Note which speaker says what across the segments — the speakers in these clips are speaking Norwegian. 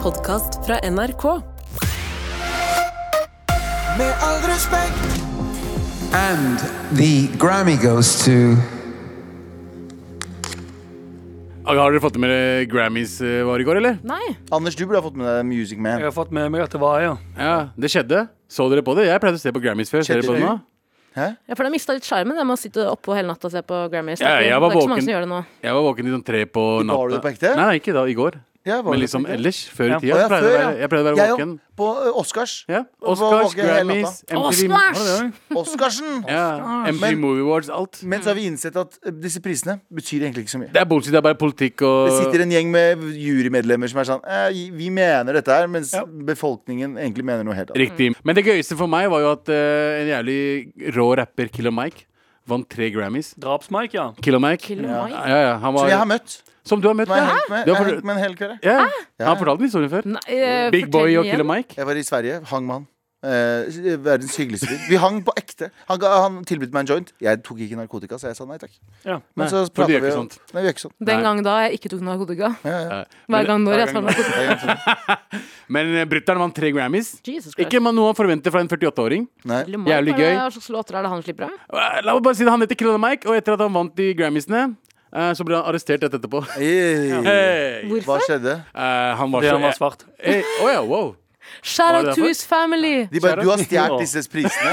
Speaker 1: podkast fra NRK.
Speaker 2: Med all respekt
Speaker 3: And the Grammy goes to.
Speaker 4: Har dere fått med dere Grammys eh, var i går, eller?
Speaker 5: Nei.
Speaker 2: Anders, du burde ha fått med deg Music Man.
Speaker 6: Jeg har fått med meg at det var, ja.
Speaker 4: Ja, Det skjedde. Så dere på det? Jeg pleide å se på Grammys før. Ser
Speaker 2: Skjedde
Speaker 4: dere på det nå?
Speaker 2: det? Hæ?
Speaker 5: Ja, for det har mista litt sjarmen, det med å sitte oppå hele natta og se på Grammys.
Speaker 4: Ja,
Speaker 5: det er
Speaker 4: jeg
Speaker 5: ikke
Speaker 4: var
Speaker 5: det er ikke så
Speaker 4: våken.
Speaker 5: mange som gjør det nå.
Speaker 4: Jeg var våken i sånn tre på
Speaker 2: Var
Speaker 4: natta.
Speaker 2: du på ekte?
Speaker 4: Nei, nei, ikke da, i går.
Speaker 2: Ja, var
Speaker 4: Men
Speaker 2: du
Speaker 4: liksom
Speaker 2: på ekte?
Speaker 4: ellers. Før i
Speaker 6: Ja.
Speaker 4: tida.
Speaker 2: Å, ja,
Speaker 4: pleide
Speaker 2: før,
Speaker 4: jeg å være-
Speaker 2: ja.
Speaker 4: jeg pleide å være
Speaker 2: Jeg
Speaker 4: våken.
Speaker 2: òg. På eh, Oscars.
Speaker 4: Ja.
Speaker 2: var
Speaker 4: Oscars,
Speaker 2: våken hele
Speaker 4: Grammys,
Speaker 2: natta.
Speaker 4: MTV
Speaker 5: Oscars!
Speaker 4: Var det det?
Speaker 2: Oscarsen!
Speaker 4: Ja, MTV
Speaker 2: Men-
Speaker 4: Movie Awards, alt.
Speaker 2: Men så har vi innsett at eh, disse prisene betyr egentlig ikke så mye.
Speaker 4: Det er bullshit. Det er bare politikk
Speaker 2: Det
Speaker 4: og
Speaker 2: sitter en gjeng med jurymedlemmer som er sånn eh, Vi mener dette her, mens
Speaker 6: Ja.
Speaker 2: befolkningen egentlig mener noe helt annet.
Speaker 4: Riktig. Men det gøyeste for meg var jo at eh, en jævlig rå rapper, Killer Mike, vant tre Grammys.
Speaker 6: Draps-Mike, ja.
Speaker 4: Killer Mike.
Speaker 5: Killer Mike?
Speaker 4: Ja, ja, han
Speaker 2: Som
Speaker 4: var,
Speaker 2: jeg har møtt.
Speaker 4: Som du har møtt,
Speaker 2: Som jeg
Speaker 4: ja.
Speaker 2: har hengt med,
Speaker 4: Du
Speaker 2: jeg
Speaker 4: har
Speaker 2: har
Speaker 4: for-
Speaker 2: hengt med en hel kveld. jeg.
Speaker 4: Ja, Han
Speaker 2: Ja, ja.
Speaker 4: fortalte den historien før.
Speaker 5: Nei, eh,
Speaker 4: Big
Speaker 5: fortell
Speaker 4: Boy og
Speaker 5: igjen.
Speaker 4: Killer Mike.
Speaker 2: Jeg var i Sverige, hang med han. Eh, verdens hyggeligste fyr. Vi hang på ekte. Han, ga- han tilbød meg en joint. Jeg tok ikke narkotika, så jeg sa nei takk.
Speaker 6: ja.
Speaker 2: Men
Speaker 4: Nei,
Speaker 2: så
Speaker 4: for du
Speaker 2: pratet
Speaker 4: gjør
Speaker 2: vi
Speaker 4: ikke
Speaker 2: jo-
Speaker 4: sånt.
Speaker 2: Nei, vi gjør ikke sånn.
Speaker 5: Den
Speaker 4: Nei.
Speaker 5: gang da jeg ikke tok narkotika.
Speaker 4: Ja.
Speaker 5: Hver gang når jeg
Speaker 6: hver
Speaker 5: tar
Speaker 6: gang
Speaker 5: narkotika.
Speaker 2: Det er ikke sånn.
Speaker 4: Men eh, brutter'n vant tre Grammys.
Speaker 5: Jesus Christ.
Speaker 4: Ikke man- noe man forventer fra en 48-åring.
Speaker 2: Nei.
Speaker 5: Killer Mike,
Speaker 4: Jævlig
Speaker 5: hva er det-
Speaker 4: gøy.
Speaker 5: Hva slags låter er det han slipper av?
Speaker 4: Eh, La meg bare si det, Han heter Killer Mike, og etter at han vant de Grammysene, eh, så ble han arrestert rett etterpå.
Speaker 2: Hey.
Speaker 4: Hey.
Speaker 2: Hva
Speaker 5: Hvorfor?
Speaker 2: skjedde?
Speaker 4: Eh, han var
Speaker 6: Det
Speaker 4: så
Speaker 6: han var svart.
Speaker 4: Eh, å ja, wow.
Speaker 5: Shout
Speaker 4: Var det
Speaker 5: out to
Speaker 4: derfor?
Speaker 5: his family!
Speaker 2: De bare,
Speaker 6: Kjære-
Speaker 2: du har stjålet
Speaker 6: Ja.
Speaker 2: disse prisene.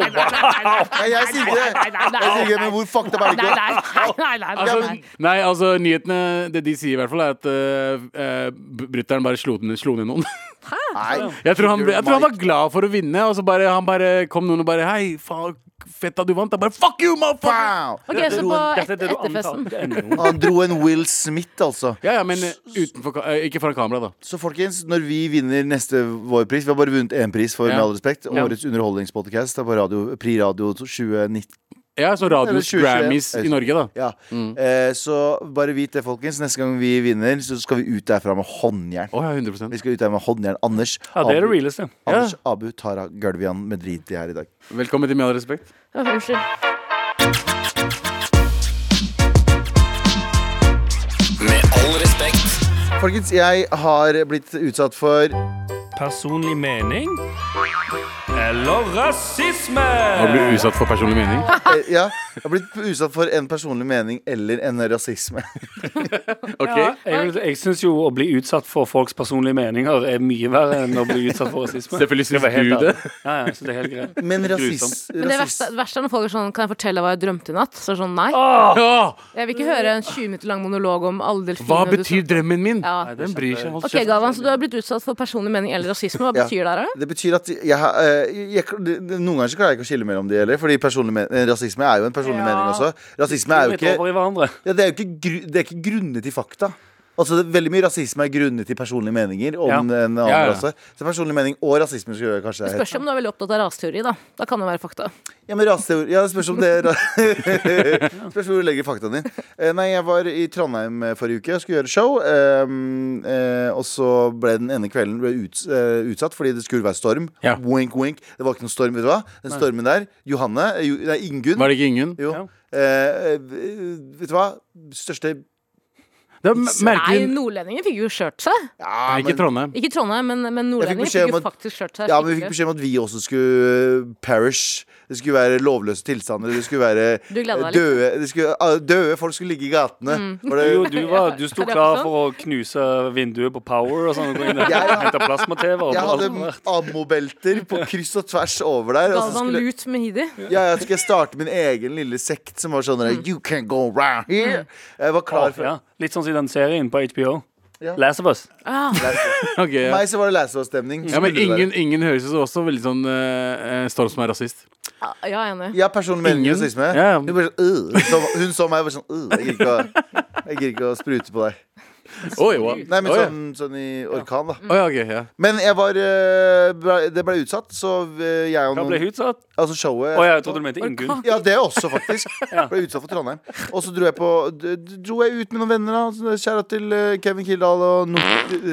Speaker 2: Nei, jeg sier ikke det. Jeg sier ikke, men hvor fucked up er det
Speaker 5: Nei,
Speaker 2: ikke?
Speaker 5: nei, nei, nei, nei, nei,
Speaker 4: Altså,
Speaker 5: nei.
Speaker 4: nei, altså, nyhetene Det de sier, i hvert fall, er at uh, brutter'n bare slo ned, slo ned noen.
Speaker 2: Nei.
Speaker 4: Jeg tror, han, ble- jeg tror han var glad for å vinne, og så bare, han bare kom noen og bare Hei, faen, fett at du vant. Jeg bare Fuck you, motherfucker!
Speaker 2: Wow.
Speaker 5: Ok, så på
Speaker 6: Dette er
Speaker 5: et,
Speaker 6: det du antar.
Speaker 5: etterfesten.
Speaker 6: Det ender jo.
Speaker 2: Han dro en Will Smith, altså.
Speaker 4: Ja, ja, men eh, utenfor, ka- eh, ikke foran kamera, da.
Speaker 2: Så folkens, når vi vinner neste vår pris Vi har bare vunnet én pris, for
Speaker 4: Ja.
Speaker 2: med all respekt.
Speaker 4: Ja.
Speaker 2: Årets underholdningspodkast er på radio, Pri Radio 2019.
Speaker 4: Ja, så radios
Speaker 2: Eller 2021.
Speaker 4: Grammys i Norge, da.
Speaker 2: Ja.
Speaker 4: Mm.
Speaker 2: Eh, så bare vit det, folkens. Neste gang vi vinner, så skal vi ut derfra med håndjern.
Speaker 4: Å ja, 100
Speaker 2: Vi skal ut der med håndjern. Anders,
Speaker 6: Ja, det er det
Speaker 2: Abu,
Speaker 6: realeste.
Speaker 2: Anders Abu Tara Galvian med drit i her i dag.
Speaker 4: Velkommen til Med all respekt.
Speaker 5: Å, Unnskyld.
Speaker 2: Folkens, jeg har blitt utsatt for
Speaker 6: Personlig mening eller rasisme?
Speaker 4: Å bli utsatt for personlig mening.
Speaker 2: eh, Ja, jeg har blitt utsatt for en personlig mening eller en rasisme.
Speaker 4: Ok?
Speaker 6: Ja, jeg vil- jeg syns jo å bli utsatt for folks personlige meninger er mye verre enn å bli utsatt for rasisme.
Speaker 4: Selvfølgelig
Speaker 6: Skal
Speaker 4: syns
Speaker 6: jeg være helt
Speaker 4: du det.
Speaker 6: ærlig. Ja, ja, så det er helt greit.
Speaker 2: Men rasis,
Speaker 4: Grusomt.
Speaker 5: Men det
Speaker 2: rasis
Speaker 5: verste, det verste er når folk er sånn Kan jeg fortelle hva jeg drømte i natt? Så er det sånn, nei.
Speaker 4: Ja,
Speaker 5: Jeg vil ikke høre en 20 minutter lang monolog om alle delfinene
Speaker 4: hva
Speaker 5: du
Speaker 4: betyr drømmen min?
Speaker 5: Ja.
Speaker 4: Nei, Den bryr seg. Hold
Speaker 5: Ok,
Speaker 4: kjeft.
Speaker 5: Galvan, så du har blitt utsatt for personlig mening eller rasisme. Hva
Speaker 2: Ja.
Speaker 5: betyr det her, da?
Speaker 2: Det betyr at jeg, har- eh, jeg, det- det- Noen ganger så klarer jeg ikke å skille mellom de heller. Fordi personlig men, eh, rasisme er jo en personlig mening også. Rasisme er jo
Speaker 6: Litt
Speaker 2: ikke
Speaker 6: over i hverandre.
Speaker 2: Ja, det er jo ikke, gru, det er ikke grunnet i fakta. Altså, det er Veldig mye rasisme er grunnet i personlige meninger om
Speaker 6: Ja.
Speaker 2: en annen
Speaker 4: Ja, ja.
Speaker 2: rase. Så personlig mening og rasisme skulle jeg kanskje
Speaker 5: Spørs
Speaker 2: hete.
Speaker 5: om du er veldig opptatt av rasteori, da. Da kan det være fakta.
Speaker 2: Ja, men raseteori Ja, det spørs om det er ra- Spørs hvor du legger faktaen din. Eh, Nei, jeg var i Trondheim eh, forrige uke og skulle gjøre show. ehm, eh, og så ble den ene kvelden ble ut, eh, utsatt fordi det skulle være storm.
Speaker 4: Ja.
Speaker 2: Wink, wink. Det var ikke noen storm, vet du hva. Den stormen der, Johanne eh, jo, Nei, Ingunn.
Speaker 4: Var det ikke Ingunn?
Speaker 2: Jo.
Speaker 6: Ja.
Speaker 2: Eh, eh, vet du hva? Største
Speaker 4: Det er m-
Speaker 5: Nei,
Speaker 4: merkelig
Speaker 5: nordlendinger fikk jo skjørt seg.
Speaker 2: ja,
Speaker 4: Nei, ikke Trondheim.
Speaker 5: Ikke Trondheim, men, men nordlendinger
Speaker 2: beskjed
Speaker 5: fikk jo
Speaker 2: om at-
Speaker 5: faktisk skjørt seg.
Speaker 2: Ja, men vi fikk
Speaker 5: skikkelig.
Speaker 2: beskjed om at vi også skulle eh, perish. Det skulle være lovløse tilstander. Det skulle være eh,
Speaker 5: Du gleder deg Mm. litt.
Speaker 2: døde, det skulle, ah, døde folk skulle ligge i gatene. Var det,
Speaker 6: Jo, du, var, du sto
Speaker 5: Er det
Speaker 6: klar
Speaker 5: også
Speaker 6: for å knuse vinduet på Power og sånn. Og gå inn der
Speaker 2: Ja, ja.
Speaker 6: og hente plasma-TV. og
Speaker 2: jeg hadde
Speaker 6: alt.
Speaker 2: ammobelter på kryss og tvers over der. Og så
Speaker 5: Galvan
Speaker 2: skulle,
Speaker 5: Lut med Hidi.
Speaker 2: ja, jeg skulle starte min egen lille sekt som var sånn der, You can go around here. Jeg var klar for
Speaker 6: Ja, litt sånn som i den serien på HBO.
Speaker 2: Ja.
Speaker 6: Last of Us.
Speaker 4: Ok, ja.
Speaker 2: meg så var det Last of Us-stemning.
Speaker 4: ja, men
Speaker 2: Skulle det være.
Speaker 4: ingen, ingen høres jo også veldig sånn eh, eh, Storm som er rasist.
Speaker 5: Ah, Ja, jeg er enig.
Speaker 2: Ja, personlig mening
Speaker 4: Ingen?
Speaker 2: og rasisme.
Speaker 4: Ja, ja.
Speaker 2: Hun, bare sånn, «Øh». så, hun så meg og var sånn «Øh, Jeg gidder ikke å, jeg gidder ikke å sprute på deg.
Speaker 4: Oi, wow.
Speaker 2: Nei, men
Speaker 4: Oi, ja.
Speaker 2: sånn, sånn i orkan, da.
Speaker 4: Oi, ok, ja.
Speaker 2: Men jeg var eh, ble- Det ble utsatt, så eh, jeg og
Speaker 6: Hva ble
Speaker 2: noen
Speaker 6: hun utsatt?
Speaker 2: Altså showet
Speaker 6: Å, jeg trodde du mente Ingunn.
Speaker 2: ja, det også, faktisk. Ble utsatt for Trondheim. Og så dro jeg på d- d- Dro jeg ut med noen venner. da Så Shout out til eh, Kevin Kildahl og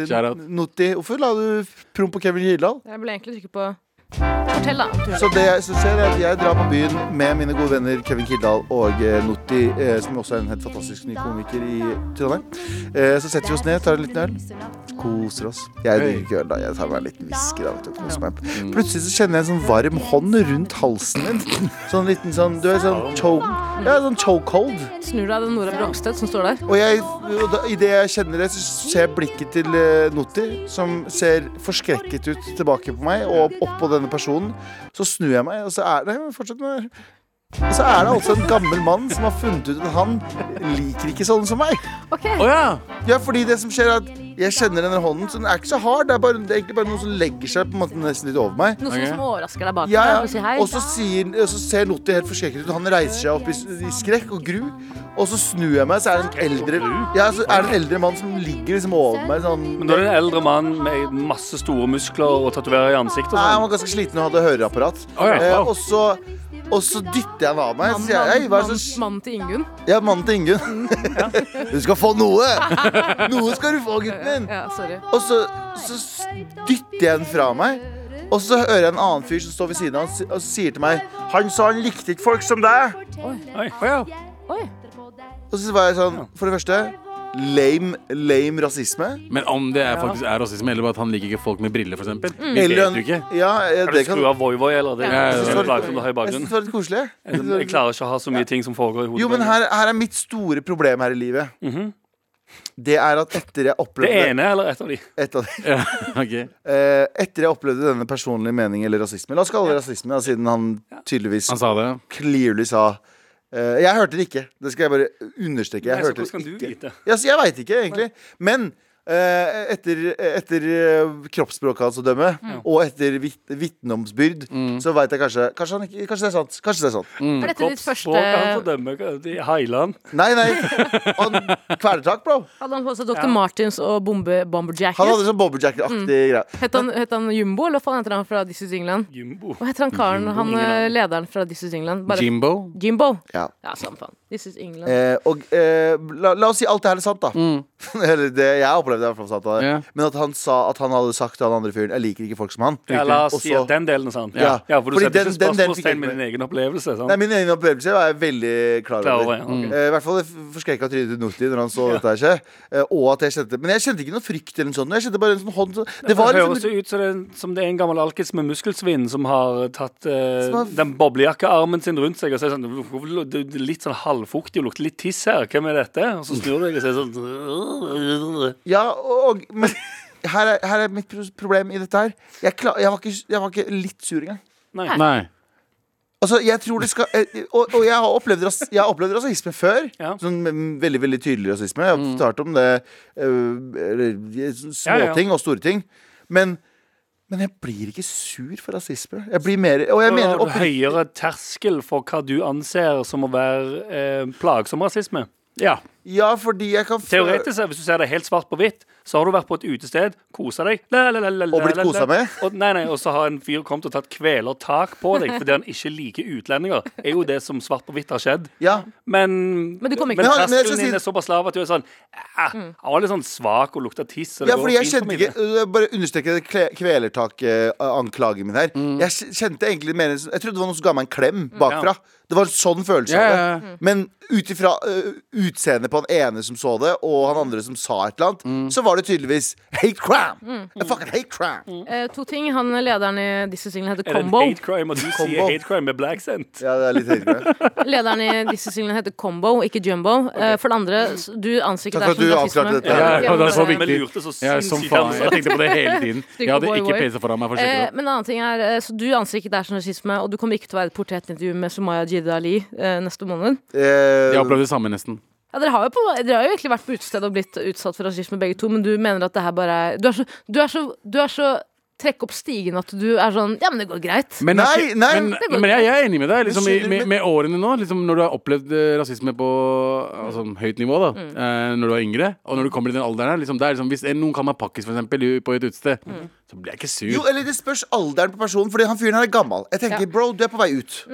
Speaker 4: Shout out.
Speaker 2: Not- Notti. Hvorfor la du prom på Kevin Kildahl?
Speaker 5: Jeg ville egentlig trykke på Fortell, da.
Speaker 2: Så det som skjer, er at jeg drar på byen med mine gode venner Kevin Kildahl og eh, Notti, eh, som også er en helt fantastisk ny komiker i Trondheim. Eh, Så setter vi oss ned, tar en liten øl, koser oss.
Speaker 4: Hey.
Speaker 2: Jeg drikker ikke øl, da. Jeg tar meg en liten whisky. da, vet du, og koser meg. Plutselig så kjenner jeg en sånn varm hånd rundt halsen min. Sånn liten sånn Du er sånn choke Ja, sånn chokehold.
Speaker 5: Snur deg, det er Nora Brogstøt som står der.
Speaker 2: Og jeg, og da- i det jeg kjenner det, så ser jeg blikket til eh, Noti, som ser forskrekket ut tilbake på meg og opp på denne personen. Så snur jeg meg, og så er det fortsett med og så er det altså en gammel mann som har funnet ut at han liker ikke sånne som meg.
Speaker 5: Ok,
Speaker 4: Å ja.
Speaker 2: Ja, fordi det som skjer er at Jeg kjenner denne hånden, så den er ikke så hard. Det er, bare, det er egentlig bare noen som legger seg på en måte nesten litt over meg.
Speaker 5: Noe som-
Speaker 4: Ok.
Speaker 5: som overrasker deg bak
Speaker 2: Ja,
Speaker 5: deg
Speaker 2: ja.
Speaker 5: og sier hei.
Speaker 2: Og så, sier, og så ser Lotti helt forskrekket ut. og Han reiser seg opp i, i skrekk og gru. Og så snur jeg meg, så er det en eldre Ja, så er det en eldre mann som ligger liksom over meg. Sånn,
Speaker 6: Men da
Speaker 2: nei,
Speaker 6: er det en eldre mann med masse store muskler og tatoveringer i ansiktet. og
Speaker 2: han
Speaker 6: sånn.
Speaker 2: var ganske sliten og hadde høreapparat.
Speaker 4: Å, ja.
Speaker 2: Eh,
Speaker 4: Wow.
Speaker 2: og så og så dytter jeg han av meg.
Speaker 5: Mann-
Speaker 2: Så sier jeg, «Hei, hva er
Speaker 5: mann-
Speaker 2: det
Speaker 5: Mm.
Speaker 2: som skj-
Speaker 5: Mannen til Ingunn.
Speaker 2: Ja, mannen til Ingunn. Du skal få noe! Noe skal du få, gutten min!
Speaker 5: Ja, sorry.
Speaker 2: Og så, så s- dytter jeg den fra meg. Og så hører jeg en annen fyr som står ved siden av han, si- og sier til meg Han sa han likte ikke folk som deg.
Speaker 6: Oi.
Speaker 4: Å ja.
Speaker 5: Oi.
Speaker 2: Og så var jeg sånn, for det første Lame, lame rasisme.
Speaker 4: Men om det er faktisk er rasisme, eller bare at han liker ikke folk med briller, f.eks. Vi
Speaker 2: Eller
Speaker 4: vet
Speaker 2: en-
Speaker 4: jo ikke.
Speaker 2: Ja, eh,
Speaker 6: Er
Speaker 2: det
Speaker 6: det
Speaker 2: kan
Speaker 6: skru av voi-voi, eller? Det
Speaker 5: Ja, ja, ja.
Speaker 6: er
Speaker 2: Jeg synes
Speaker 6: så
Speaker 2: det var
Speaker 6: plagsomt å ha
Speaker 2: jeg synes
Speaker 6: i bakgrunnen.
Speaker 2: det var litt koselig.
Speaker 6: Jeg jeg klarer ikke å ha så mye ting som foregår i hodet.
Speaker 2: Jo, men
Speaker 6: mitt.
Speaker 2: her, her er mitt store problem her i livet.
Speaker 4: Mhm.
Speaker 2: Det er at etter jeg
Speaker 6: Det
Speaker 2: opplevde
Speaker 6: ene eller et av de.
Speaker 2: et av de,
Speaker 4: Ja, ok
Speaker 2: eh, Etter jeg opplevde denne personlige mening eller rasisme La oss kalle det rasisme, da, siden han tydeligvis
Speaker 4: Han sa det.
Speaker 2: clearly sa eh, Jeg hørte det ikke. Det skal jeg bare understreke. Jeg
Speaker 6: Nei, så
Speaker 2: hørte
Speaker 6: hvordan kan
Speaker 2: det
Speaker 6: du
Speaker 2: ikke.
Speaker 6: vite?
Speaker 2: Ja, så jeg veit ikke, egentlig. Men eh, etter, etter eh, kroppsspråket hans å dømme, og etter vit, vitneomsbyrd, så veit jeg kanskje kanskje, han ikke, kanskje det er sant. Kanskje det er sant.
Speaker 4: Mm.
Speaker 5: Er dette ditt
Speaker 6: Kroppsspråk han
Speaker 5: første
Speaker 6: fordømmer. hva- de- Heiland.
Speaker 2: Nei, nei. Han kvelertak, bro.
Speaker 5: Hadde han på seg Dr. Martins og bombe Bomberjacket?
Speaker 2: Han hadde sånn
Speaker 6: Mm.
Speaker 2: Bobberjack-aktig greie.
Speaker 5: Het han, het han Jumbo, eller hva faen heter han fra This Is England?
Speaker 6: Jumbo.
Speaker 5: Hva heter han karen, han eh, lederen fra This Is England? Bare
Speaker 4: Jimbo.
Speaker 5: Jimbo?
Speaker 2: Ja.
Speaker 5: Ja, samme faen. This Is England.
Speaker 2: Eh, og eh, la, la oss si alt det her er sant, da. Eller det jeg opplevde, i hvert fall sant. Da.
Speaker 4: Ja.
Speaker 2: Men at han sa at han hadde sagt til han andre fyren 'Jeg liker ikke folk som han'.
Speaker 6: Ja, la oss
Speaker 2: Og
Speaker 6: si
Speaker 2: så-
Speaker 6: at den delen er sann.
Speaker 2: Ja.
Speaker 6: ja, for du
Speaker 2: Fordi
Speaker 6: setter
Speaker 2: den-
Speaker 6: ikke
Speaker 2: den- den fikk jeg
Speaker 6: spørsmålstegn med
Speaker 2: ikke
Speaker 6: din egen opplevelse. Sant?
Speaker 2: Nei, min egen opplevelse var jeg veldig klar
Speaker 6: Klar
Speaker 2: over.
Speaker 6: over, ja, ok.
Speaker 2: Eh, I hvert fall det forskrekka trynet til Noti når han så dette her skje. Eh, Og at jeg kjente Men jeg kjente ikke noe frykt eller noe sånt. Jeg kjente bare en sånn hånd som- Det
Speaker 6: Det
Speaker 2: var
Speaker 6: høres
Speaker 2: liksom
Speaker 6: jo ut som det, som det er en gammel alkis med muskelsvinn som har tatt eh,
Speaker 2: Som har-
Speaker 6: den boblejakkearmen sin rundt seg og så er det sånn "Hvorfor lu- Det det er litt sånn halvfuktig og lukter litt tiss her. Hvem er dette? Og så snur du deg og sier sånn
Speaker 2: Ja, og Men her er, her er mitt pro- problem i dette her. Jeg, kla- jeg, var ikke, jeg var ikke litt sur engang.
Speaker 4: Nei.
Speaker 2: Altså, jeg tror det skal eh, Og, og jeg har opplevd, ras, jeg har opplevd rasisme før.
Speaker 6: Ja. Mm.
Speaker 2: Sånn mm, veldig veldig tydelig rasisme. Jeg har fortalt om det. eh, eller, eh,
Speaker 6: Ja, ja.
Speaker 2: Småting og store ting. Men, men jeg blir ikke sur for rasisme. Jeg blir mer Og jeg
Speaker 6: Da
Speaker 2: mener
Speaker 6: har du
Speaker 2: oppriktig-
Speaker 6: høyere terskel for hva du anser som å være eh, plagsom rasisme.
Speaker 4: Ja.
Speaker 2: Ja, fordi jeg kan få-
Speaker 6: Teoretisk, sett, hvis du ser det helt svart på hvitt, så har du vært på et utested, kosa deg la, la, la, la, la,
Speaker 2: Og blitt
Speaker 6: la, la.
Speaker 2: kosa med?
Speaker 6: Og, nei, nei, og så har en fyr kommet og tatt kvelertak på deg fordi han ikke liker utlendinger. Er jo det som svart på hvitt har skjedd.
Speaker 2: Ja,
Speaker 6: Men,
Speaker 5: Men du kom ikke- Mm.
Speaker 2: Men
Speaker 6: men
Speaker 2: han- men jeg skal
Speaker 6: terskelen
Speaker 2: si-
Speaker 6: din er såpass lav at du er sånn "Ah, Han var litt sånn svak og lukta tiss. så det
Speaker 2: ja
Speaker 6: går
Speaker 2: fordi jeg
Speaker 6: fint for
Speaker 2: kjente
Speaker 6: meg,
Speaker 2: ikke
Speaker 6: det."
Speaker 2: øh, Bare understreke det kle- kvelertak-anklagen min her.
Speaker 4: Mm.
Speaker 2: Jeg kj- kjente egentlig mer en sånn- Jeg trodde det var noen som ga meg en klem bakfra. Det var en sånn følelse.
Speaker 4: Ja,
Speaker 2: av
Speaker 4: ja, ja.
Speaker 2: det. Men ut ifra øh, utseendet på han ene som så det, og han andre som sa et eller annet,
Speaker 4: Mm.
Speaker 2: så var det tydeligvis hate crime. I fucking hate crime.
Speaker 5: Eh, to ting. Han lederen i This Is England heter
Speaker 6: Er det en
Speaker 5: Combo.
Speaker 6: hate crime, og du sier
Speaker 2: Combo.
Speaker 6: hate crime med black scent?
Speaker 2: Ja, det er litt hate crime.
Speaker 5: Lederen i This Is England heter Combo, ikke Jumbo. Eh, for det andre, s- du anser ikke det
Speaker 2: Takk
Speaker 5: her
Speaker 2: for at du
Speaker 5: som
Speaker 2: avklarte
Speaker 5: rasisme.
Speaker 2: dette. Ja,
Speaker 4: ja, det er så
Speaker 5: men-
Speaker 4: viktig.
Speaker 6: Vi lurte så
Speaker 4: Jeg, er som
Speaker 6: sinnssykt
Speaker 4: faen. jeg
Speaker 6: ansatt.
Speaker 4: tenkte på det hele tiden. Jeg hadde
Speaker 5: Boy,
Speaker 4: ikke
Speaker 5: boy.
Speaker 4: PC foran meg. for å sjekke
Speaker 5: Eh,
Speaker 4: det.
Speaker 5: men en annen ting er, eh, så Du anser ikke det her som rasisme, og du kommer ikke til å være i et portrettintervju med Sumaya Jidda Ali eh, neste måned.
Speaker 2: Eh,
Speaker 4: Jeg opplevde det samme, nesten.
Speaker 5: Ja, dere, har jo på, dere har jo egentlig vært på utested og blitt utsatt for rasisme begge to, men du mener at det her bare er Du er så, du er så, du er så Trekk opp stigen at du er sånn Ja, men det går greit.
Speaker 4: Men,
Speaker 2: Nei,
Speaker 4: ikke-
Speaker 2: nei.
Speaker 4: men, men jeg, jeg er enig med deg. Liksom, i,
Speaker 2: skylder-
Speaker 4: med, med årene nå, liksom, når du har opplevd eh, rasisme på altså, høyt nivå, da, eh, når du er yngre, og når du kommer i den alderen her liksom, det er liksom, Hvis en- noen kaller meg pakkis, for eksempel, i- på et utested, så blir jeg ikke sur.
Speaker 2: jo, eller det spørs alderen på personen, Fordi han fyren her er gammel. Jeg tenker, bro, du er på vei ut.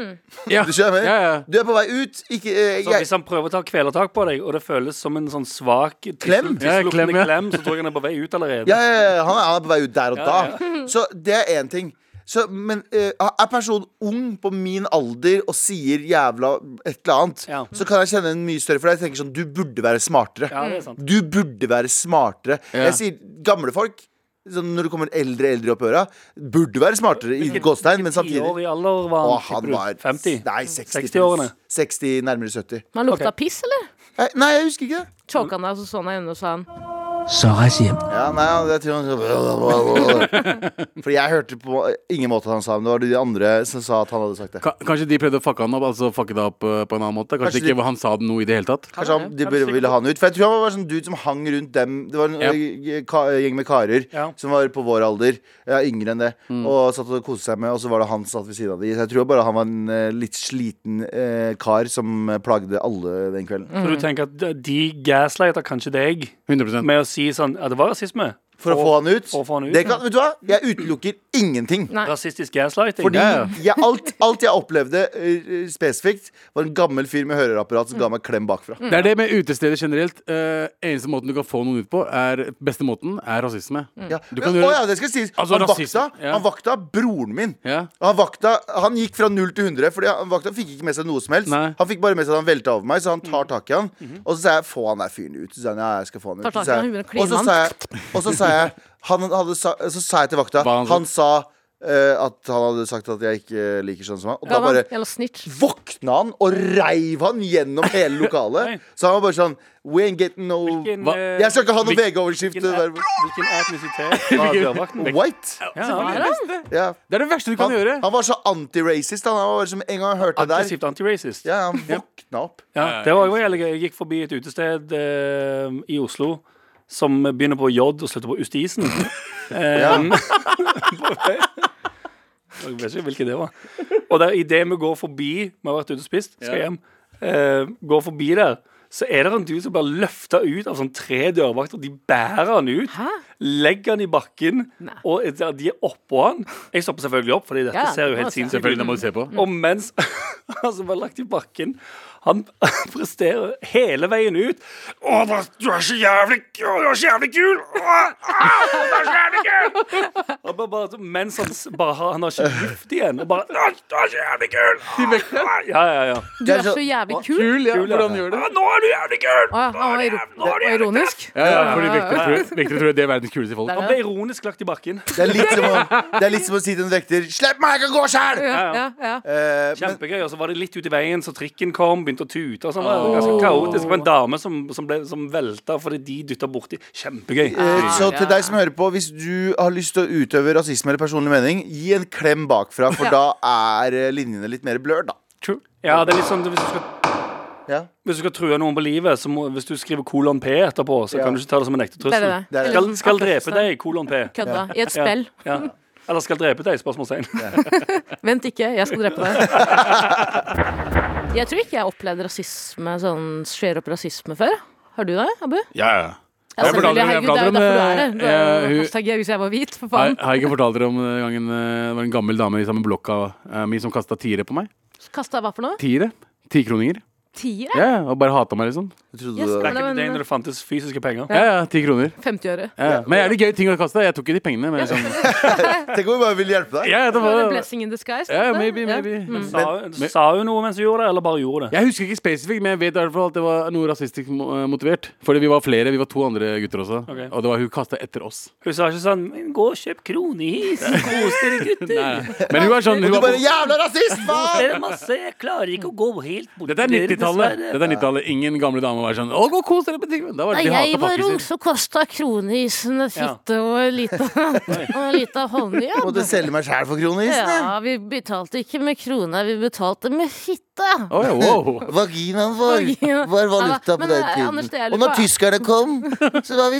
Speaker 4: ja.
Speaker 2: Du skjønner?
Speaker 4: Ja, ja.
Speaker 2: Du er på vei ut. Ikke eh,
Speaker 6: Så
Speaker 2: jeg-
Speaker 6: hvis han prøver å ta kvelertak på deg, og det føles som en sånn svak tissel-
Speaker 2: Klem?
Speaker 4: Ja,
Speaker 6: tisseluktende
Speaker 4: klem, ja.
Speaker 6: klem, så tror jeg han er på vei ut allerede.
Speaker 2: Ja, ja, ja, han er, han er på vei ut der og da. Så det er én ting. Så, men eh, er personen ung på min alder og sier jævla et eller annet,
Speaker 6: Ja.
Speaker 2: så kan jeg kjenne en mye større for deg. Jeg tenker sånn, du burde være smartere.
Speaker 6: Ja, det er sant.
Speaker 2: Du burde være smartere.
Speaker 4: Ja.
Speaker 2: Jeg sier gamle folk. Sånn når det kommer eldre eldre opp i øra, burde være smartere i gåstein, men
Speaker 6: Ti år
Speaker 2: samtidig
Speaker 6: i alder var han,
Speaker 2: Å, han
Speaker 6: tipper du?
Speaker 2: var
Speaker 6: 50?
Speaker 2: Nei, 60.
Speaker 6: 60-årene.
Speaker 2: 60, nærmere 70.
Speaker 5: Men han lukta piss, eller? altså
Speaker 2: Eh, Nei, jeg husker ikke det.
Speaker 5: Choka han deg, og så så han deg inne og sånn sa han
Speaker 2: Ja, nei, han- jeg tror han Fordi jeg hørte på ingen måte han sa men det var de andre som sa at han hadde sagt det.
Speaker 4: Ka- Kanskje de prøvde å fucke han opp, altså fucke det opp eh, på en annen måte. Kanskje,
Speaker 2: Kanskje
Speaker 4: ikke
Speaker 2: de-
Speaker 4: han sa det noe i det hele tatt.
Speaker 2: Kanskje han, de bare ville ha han ut. For jeg tror han var sånn dude som hang rundt dem. Det var en
Speaker 4: Ja.
Speaker 2: eh, ka- gjeng med karer
Speaker 6: Ja.
Speaker 2: som var på vår alder, ja, yngre enn det, og satt og koste seg med, og så var det han som satt ved siden av de. Så jeg tror bare han var en eh, litt sliten eh, kar som eh, plagde alle den kvelden.
Speaker 6: Så du tenker at de gaslighter kanskje deg
Speaker 4: 100
Speaker 6: med å si sånn Ja, det var rasisme.
Speaker 2: For å få han ut.
Speaker 6: for å få han ut,
Speaker 2: det
Speaker 6: ja.
Speaker 2: kan, vet du hva? Jeg utelukker ingenting.
Speaker 5: Nei.
Speaker 6: Rasistisk gaslighting.
Speaker 2: Fordi
Speaker 6: Ja, ja.
Speaker 2: jeg, alt, alt jeg opplevde eh, spesifikt, var en gammel fyr med høreapparat som ga meg klem bakfra.
Speaker 4: Det er det med utesteder generelt. Eh, eneste måten du kan få noen ut på, er beste måten, er rasisme.
Speaker 2: Ja.
Speaker 4: Du kan
Speaker 2: Men-
Speaker 4: gjøre-
Speaker 2: å ja, det skal sies.
Speaker 4: Altså,
Speaker 2: han, vakta,
Speaker 4: rasisme, ja.
Speaker 2: han vakta broren min.
Speaker 4: Ja.
Speaker 2: Og Han, vakta, han gikk fra 0 til 100, Fordi han vakta fikk ikke med seg noe som helst.
Speaker 4: Nei.
Speaker 2: Han fikk bare med seg at han velta over meg, så han tar tak i han. Og så sa jeg 'få han der fyren ut'. Så sa han, ja, jeg skal få han ut
Speaker 5: Tar tak i
Speaker 2: Så sa
Speaker 5: han,
Speaker 2: jeg-
Speaker 5: begynner å kline
Speaker 2: og så
Speaker 5: han.
Speaker 2: sa jeg, og så sa jeg, han hadde, sa- så sa jeg til vakta
Speaker 4: Hva han
Speaker 2: Han,
Speaker 4: sa?
Speaker 2: sa eh, at han hadde sagt at jeg ikke eh, liker sånn som han. Og da
Speaker 5: Gavan,
Speaker 2: bare
Speaker 5: jævla snitch.
Speaker 2: våkna han og reiv han gjennom hele
Speaker 6: Nei.
Speaker 2: lokalet. så han var bare sånn We ain't getting no
Speaker 6: Hvilken,
Speaker 4: Hva?
Speaker 6: eh,
Speaker 2: Jeg skal ikke ha noe
Speaker 6: hvilken-
Speaker 2: VG-overskrift. eh,
Speaker 6: hvilken
Speaker 2: det der-
Speaker 6: Hvilken etnisitet var dørvakten?
Speaker 2: White.
Speaker 6: Ja, ja.
Speaker 2: Ja.
Speaker 4: Det er det verste du kan
Speaker 2: Han,
Speaker 4: gjøre.
Speaker 2: han var så antiracist. Han var bare som en gang jeg hørte det der.
Speaker 6: Aggressivt antiracist.
Speaker 2: Ja, han våkna opp.
Speaker 6: Ja, det var jo veldig gøy. Jeg gikk forbi et utested eh, i Oslo som begynner på J og slutter på Ustisen.
Speaker 2: Ja.
Speaker 6: Jeg vet ikke hvilket det var. Og der, i det vi går forbi Vi har vært ute og spist, skal hjem. eh, går forbi der, så er det en dude som blir løfta ut av sånn tre dørvakter. De bærer han ut,
Speaker 5: Hæ?
Speaker 6: legger han i bakken,
Speaker 5: Nei.
Speaker 6: og et- de er oppå han. Jeg stopper selvfølgelig opp, Fordi dette
Speaker 5: Ja,
Speaker 6: ser jo helt
Speaker 5: altså.
Speaker 6: sinnssykt
Speaker 4: Selvfølgelig, det
Speaker 6: ut.
Speaker 4: må du se på.
Speaker 6: Og mens han som var lagt i bakken, han presterer hele veien ut. Å, da- du er så jævlig kul! Du er så jævlig kul! Å, au, du er så jævlig kul! Og bare, bare, så- mens han s- bare har, han har ikke luft igjen, og bare Du er du er så jævlig kul! Ja, ja, ja.
Speaker 5: Du er så jævlig kul. Ah,
Speaker 4: Kul, ja. Hvordan gjør det?
Speaker 6: «Ja, Nå er du jævlig kul!
Speaker 5: Å ja, han var iro- det var ironisk.
Speaker 4: Ja, ja, fordi vektere tror, vektere tror det er verdens kuleste folk.
Speaker 5: Der,
Speaker 6: Han ble ironisk lagt i bakken.
Speaker 2: Det er litt som å, det er litt som å si til en vekter 'Slipp meg, jeg kan gå sjæl!'
Speaker 5: Ja, ja, ja.
Speaker 2: Eh, men
Speaker 6: Kjempegøy, og så var det litt ut i veien, så trikken kom, begynte å tute og sånn. Det var ganske kaotisk. Det var en dame som, som, ble, som velta fordi de dytta borti. Kjempegøy.
Speaker 2: eh, så til deg som hører på, hvis du har lyst til å utøve rasisme eller personlig mening, gi en klem bakfra, for da er eh, linjene litt mer blurred, da.
Speaker 6: True. Ja, det er litt sånn hvis du skal
Speaker 2: Ja.
Speaker 6: Hvis du skal true noen på livet, så må, hvis du skriver kolon P etterpå, så
Speaker 2: Ja.
Speaker 6: kan du ikke ta det som en ekte trussel.
Speaker 5: Det sånn. er det.
Speaker 2: Det er det.
Speaker 6: Skal, skal
Speaker 5: Eller-
Speaker 6: drepe deg, kolon P.
Speaker 5: Kødda. I et spill.
Speaker 6: Ja. Eller skal drepe deg, spørsmålstegn.
Speaker 5: Vent ikke, jeg skal drepe deg. Jeg tror ikke jeg har opplevd rasisme sånn skjer opp rasisme før. Har du det, Abu?
Speaker 4: Ja, ja.
Speaker 5: Ja,
Speaker 4: Jeg fortalte-
Speaker 5: selvfølgelig.
Speaker 4: jeg
Speaker 5: Herregud, det er jo
Speaker 4: fortalte
Speaker 5: derfor du
Speaker 4: om,
Speaker 5: er her. Du
Speaker 4: eh,
Speaker 5: er jo
Speaker 4: hun-
Speaker 5: hashtag jeg hvis jeg var hvit, for
Speaker 4: Har,
Speaker 5: faen.
Speaker 4: har jeg ikke fortalt dere om den gangen eh, det var en gammel dame i samme blokka eh, mi som kasta tiere på meg?
Speaker 5: Kasta jeg hva for noe?
Speaker 4: Tiere? Tikroninger?
Speaker 5: Tier?
Speaker 4: Ja,
Speaker 5: jeg?
Speaker 4: ja, og bare hata meg, liksom.
Speaker 2: Jeg trodde
Speaker 5: Yes,
Speaker 2: det
Speaker 5: men
Speaker 6: Back
Speaker 5: det
Speaker 6: in
Speaker 5: var
Speaker 6: the day
Speaker 5: en
Speaker 6: når det fantes fysiske penger.
Speaker 4: Ja, ja, ti kroner.
Speaker 5: 50-øre.
Speaker 4: Ja, ja. Men jævlig gøy ting å kaste. Jeg tok ikke de pengene, men liksom
Speaker 2: Tenk om vi bare ville hjelpe deg.
Speaker 4: ja, det
Speaker 5: Det var en
Speaker 4: var,
Speaker 5: blessing in disguise.
Speaker 4: ja,
Speaker 5: dette.
Speaker 4: maybe,
Speaker 5: Ja.
Speaker 4: maybe.
Speaker 6: Sa, sa hun noe mens hun gjorde det, eller bare gjorde det?
Speaker 4: Jeg husker ikke spesifikt, men jeg vet i hvert fall at det var noe rasistisk mo- eh, motivert. Fordi vi var flere, vi var to andre gutter også.
Speaker 6: Ok.
Speaker 4: Og det var hun kasta etter oss.
Speaker 6: Hun sa ikke sånn «Men 'Gå og kjøp kronehis, kos dere, gutter'.
Speaker 4: Men hun var sånn hun
Speaker 2: Du
Speaker 4: var
Speaker 2: bare 'Jævla rasist,
Speaker 6: Det
Speaker 2: faen!'
Speaker 6: er masse, jeg klarer ikke å gå helt bort
Speaker 4: Dette er 90-tallet. Dette er 90-tallet Ingen gamle dame var sånn 'Å, gå og kos dere på butikken'. Da var det de hata pakkiser.
Speaker 5: så kosta kroneisen en og en lita- og en lita håndjobb.
Speaker 2: Måtte selge meg sjæl for kroneisen.
Speaker 5: vi betalte ikke med krona, vi betalte med fitte.
Speaker 4: Å, ja, wow.
Speaker 2: Vaginaen vår
Speaker 5: Vagina.
Speaker 2: var valuta på
Speaker 5: Men,
Speaker 2: den
Speaker 5: eh, Anders, det er
Speaker 2: tiden. Og
Speaker 5: litt
Speaker 2: når
Speaker 5: bra.
Speaker 2: tyskerne kom, så var vi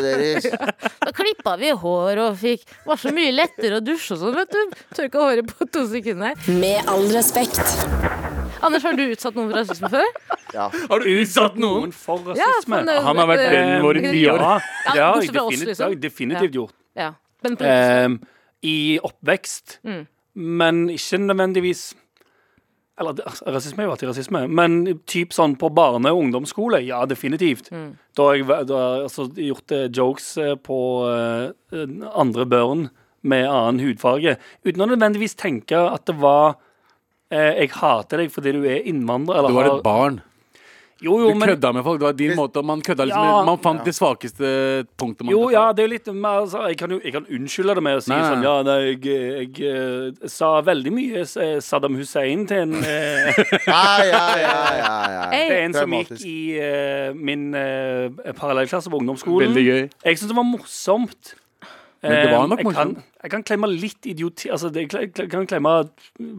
Speaker 2: deres.
Speaker 5: Da klippa vi hår og fikk Det var så mye lettere å dusje og sånn, vet du. Tørka håret på to sekunder.
Speaker 1: Med all respekt.
Speaker 5: Anders, har du utsatt noen for rasisme før?
Speaker 4: Har du utsatt noen?
Speaker 6: Noen for
Speaker 5: Ja,
Speaker 6: rasisme.
Speaker 5: for det-
Speaker 4: Han har vært
Speaker 5: Eh,
Speaker 4: vennen vår i ti år.
Speaker 6: Ja,
Speaker 5: Ja,
Speaker 6: ja,
Speaker 5: bortsett
Speaker 6: jeg
Speaker 5: fra oss,
Speaker 6: definitivt,
Speaker 5: liksom.
Speaker 6: jeg definitivt gjort.
Speaker 5: Ja. Men på
Speaker 4: Eh,
Speaker 6: Ehm, i oppvekst, men ikke nødvendigvis eller, det- altså, Rasisme er jo alltid rasisme, men typ sånn på barne- og ungdomsskole, ja, definitivt. Da har jeg væ- da har jeg altså, gjort eh, jokes eh, på eh, andre børn med annen hudfarge, uten å nødvendigvis tenke at det var eh, Jeg hater deg fordi du er innvandrer. Eller
Speaker 4: Du var
Speaker 6: har-
Speaker 4: et barn.
Speaker 6: Jo, jo,
Speaker 4: Du
Speaker 6: men,
Speaker 4: kødda med folk. Det var din måte. Man kødda liksom
Speaker 6: Ja.
Speaker 4: Man fant det svakeste punktet man
Speaker 6: Jo,
Speaker 4: kunne
Speaker 6: ja,
Speaker 4: ta.
Speaker 6: det er jo litt mer altså, jeg, kan jo, jeg kan unnskylde det med å si
Speaker 4: Nei, nei,
Speaker 6: sånn
Speaker 4: nei.
Speaker 6: Ja, nei, jeg, jeg, eh, sa veldig mye eh, Saddam Hussein til en, eh,
Speaker 2: Ja, ja, ja, ja, ja.
Speaker 6: til en som gikk
Speaker 2: Traumatisk.
Speaker 6: i eh, min eh, parallellklasse på ungdomsskolen.
Speaker 4: Veldig gøy.
Speaker 6: Jeg syns det var morsomt.
Speaker 4: Men det var nok
Speaker 6: Eh, jeg kan,
Speaker 4: morsomt.
Speaker 6: jeg kan klemme litt idioti Altså, det- jeg kle- kan klemme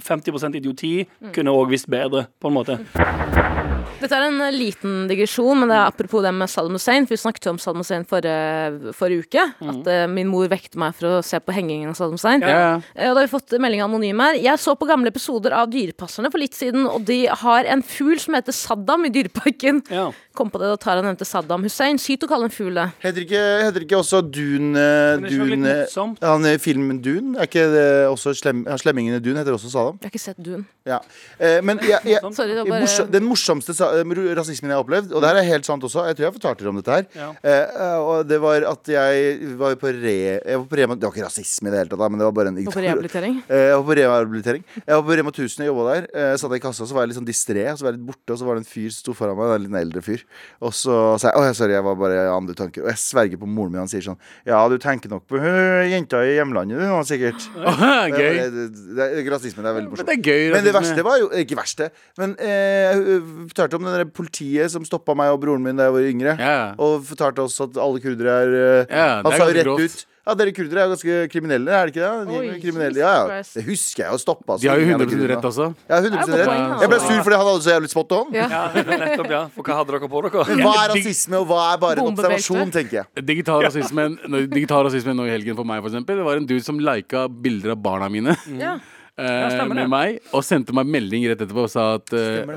Speaker 6: 50 idioti. Kunne òg visst bedre, på en måte.
Speaker 5: Dette er en eh, liten digresjon, men det er apropos det med Saddam Hussein. For vi snakket jo om Saddam Hussein forrige, forrige uke. At eh, min mor vekte meg for å se på hengingen av Saddam Hussein.
Speaker 4: Ja,
Speaker 5: Eh, og da har vi fått melding anonym her. Jeg så på gamle episoder av Dyrepasserne for litt siden, og de har en fugl som heter Saddam i Dyreparken.
Speaker 6: Ja.
Speaker 5: Kom på det da Tara nevnte Saddam Hussein. Sykt å kalle en fugl det.
Speaker 2: Heter ikke, heter ikke også Dune, eh,
Speaker 6: Men det er ikke
Speaker 2: Dune
Speaker 6: litt morsomt.
Speaker 2: Han i filmen Dune? Er ikke det også slem, ja, Slemmingene Dune heter også Saddam?
Speaker 5: Jeg har ikke sett duen.
Speaker 2: Ja. Eh, men jeg, jeg,
Speaker 5: Sorry, det var bare
Speaker 2: morsom, den morsomste sa- eh, rasismen jeg har opplevd, og det her er helt sant også, jeg tror jeg fortalte dere om dette her,
Speaker 6: Ja.
Speaker 2: eh, og det var at jeg var på re... Jeg var på Rema, det var ikke rasisme i det hele tatt, da, men det var bare en
Speaker 5: Og på rehabilitering.
Speaker 2: Eh, Jeg var på rehabilitering. Jeg var på Rema 1000 og jobba der. Eh, Jeg satt i kassa, så var jeg litt sånn distré, så var jeg litt borte, og så var det en fyr som sto foran meg, en litt eldre fyr. Og så sa jeg å, sorry, jeg var bare i andre tanker. Og jeg sverger på moren min, han sier sånn Ja, du tenker nok på øh, jenta i hjemlandet, du, nå, sikkert.
Speaker 4: ja.
Speaker 2: Det,
Speaker 4: Gøy.
Speaker 2: er- det, det er ikke rasisme, det er veldig
Speaker 4: Men
Speaker 2: morsomt.
Speaker 4: det er gøy.
Speaker 2: Men det
Speaker 4: rasisme.
Speaker 2: verste var jo Ikke verste, men eh, jeg fortalte om det der politiet som stoppa meg og broren min da jeg var yngre.
Speaker 4: Ja.
Speaker 2: Og fortalte oss at alle kurdere er eh,
Speaker 4: Ja, det
Speaker 2: Han
Speaker 4: er
Speaker 2: sa jo
Speaker 4: ganske
Speaker 2: rett
Speaker 4: grovt.
Speaker 2: ut Ja, dere kurdere er jo ganske kriminelle, er det ikke det? Ni-
Speaker 5: Oi,
Speaker 2: kriminelle,
Speaker 5: Jesus
Speaker 2: ja, ja.
Speaker 5: Christ.
Speaker 2: Det husker jeg jo stoppa.
Speaker 4: De har jo 100 rett, altså.
Speaker 2: Ja, 100%
Speaker 5: Det er på poeng,
Speaker 2: rett.
Speaker 5: altså.
Speaker 2: Jeg ble sur fordi han hadde så jævlig spot on.
Speaker 5: Ja.
Speaker 6: Ja, nettopp, ja. For hva hadde dere på
Speaker 2: Men
Speaker 6: dere?
Speaker 2: hva er rasisme, og hva er bare en
Speaker 5: Bombebelte.
Speaker 2: observasjon, tenker jeg.
Speaker 4: Digital rasisme, nå- digital rasisme nå i helgen for meg, for eksempel. Det var en dude som lika bilder av barna mine.
Speaker 5: Ja.
Speaker 4: eh,
Speaker 6: Mm. stemmer
Speaker 4: med
Speaker 6: det.
Speaker 4: meg, og sendte meg melding rett etterpå og sa at eh, En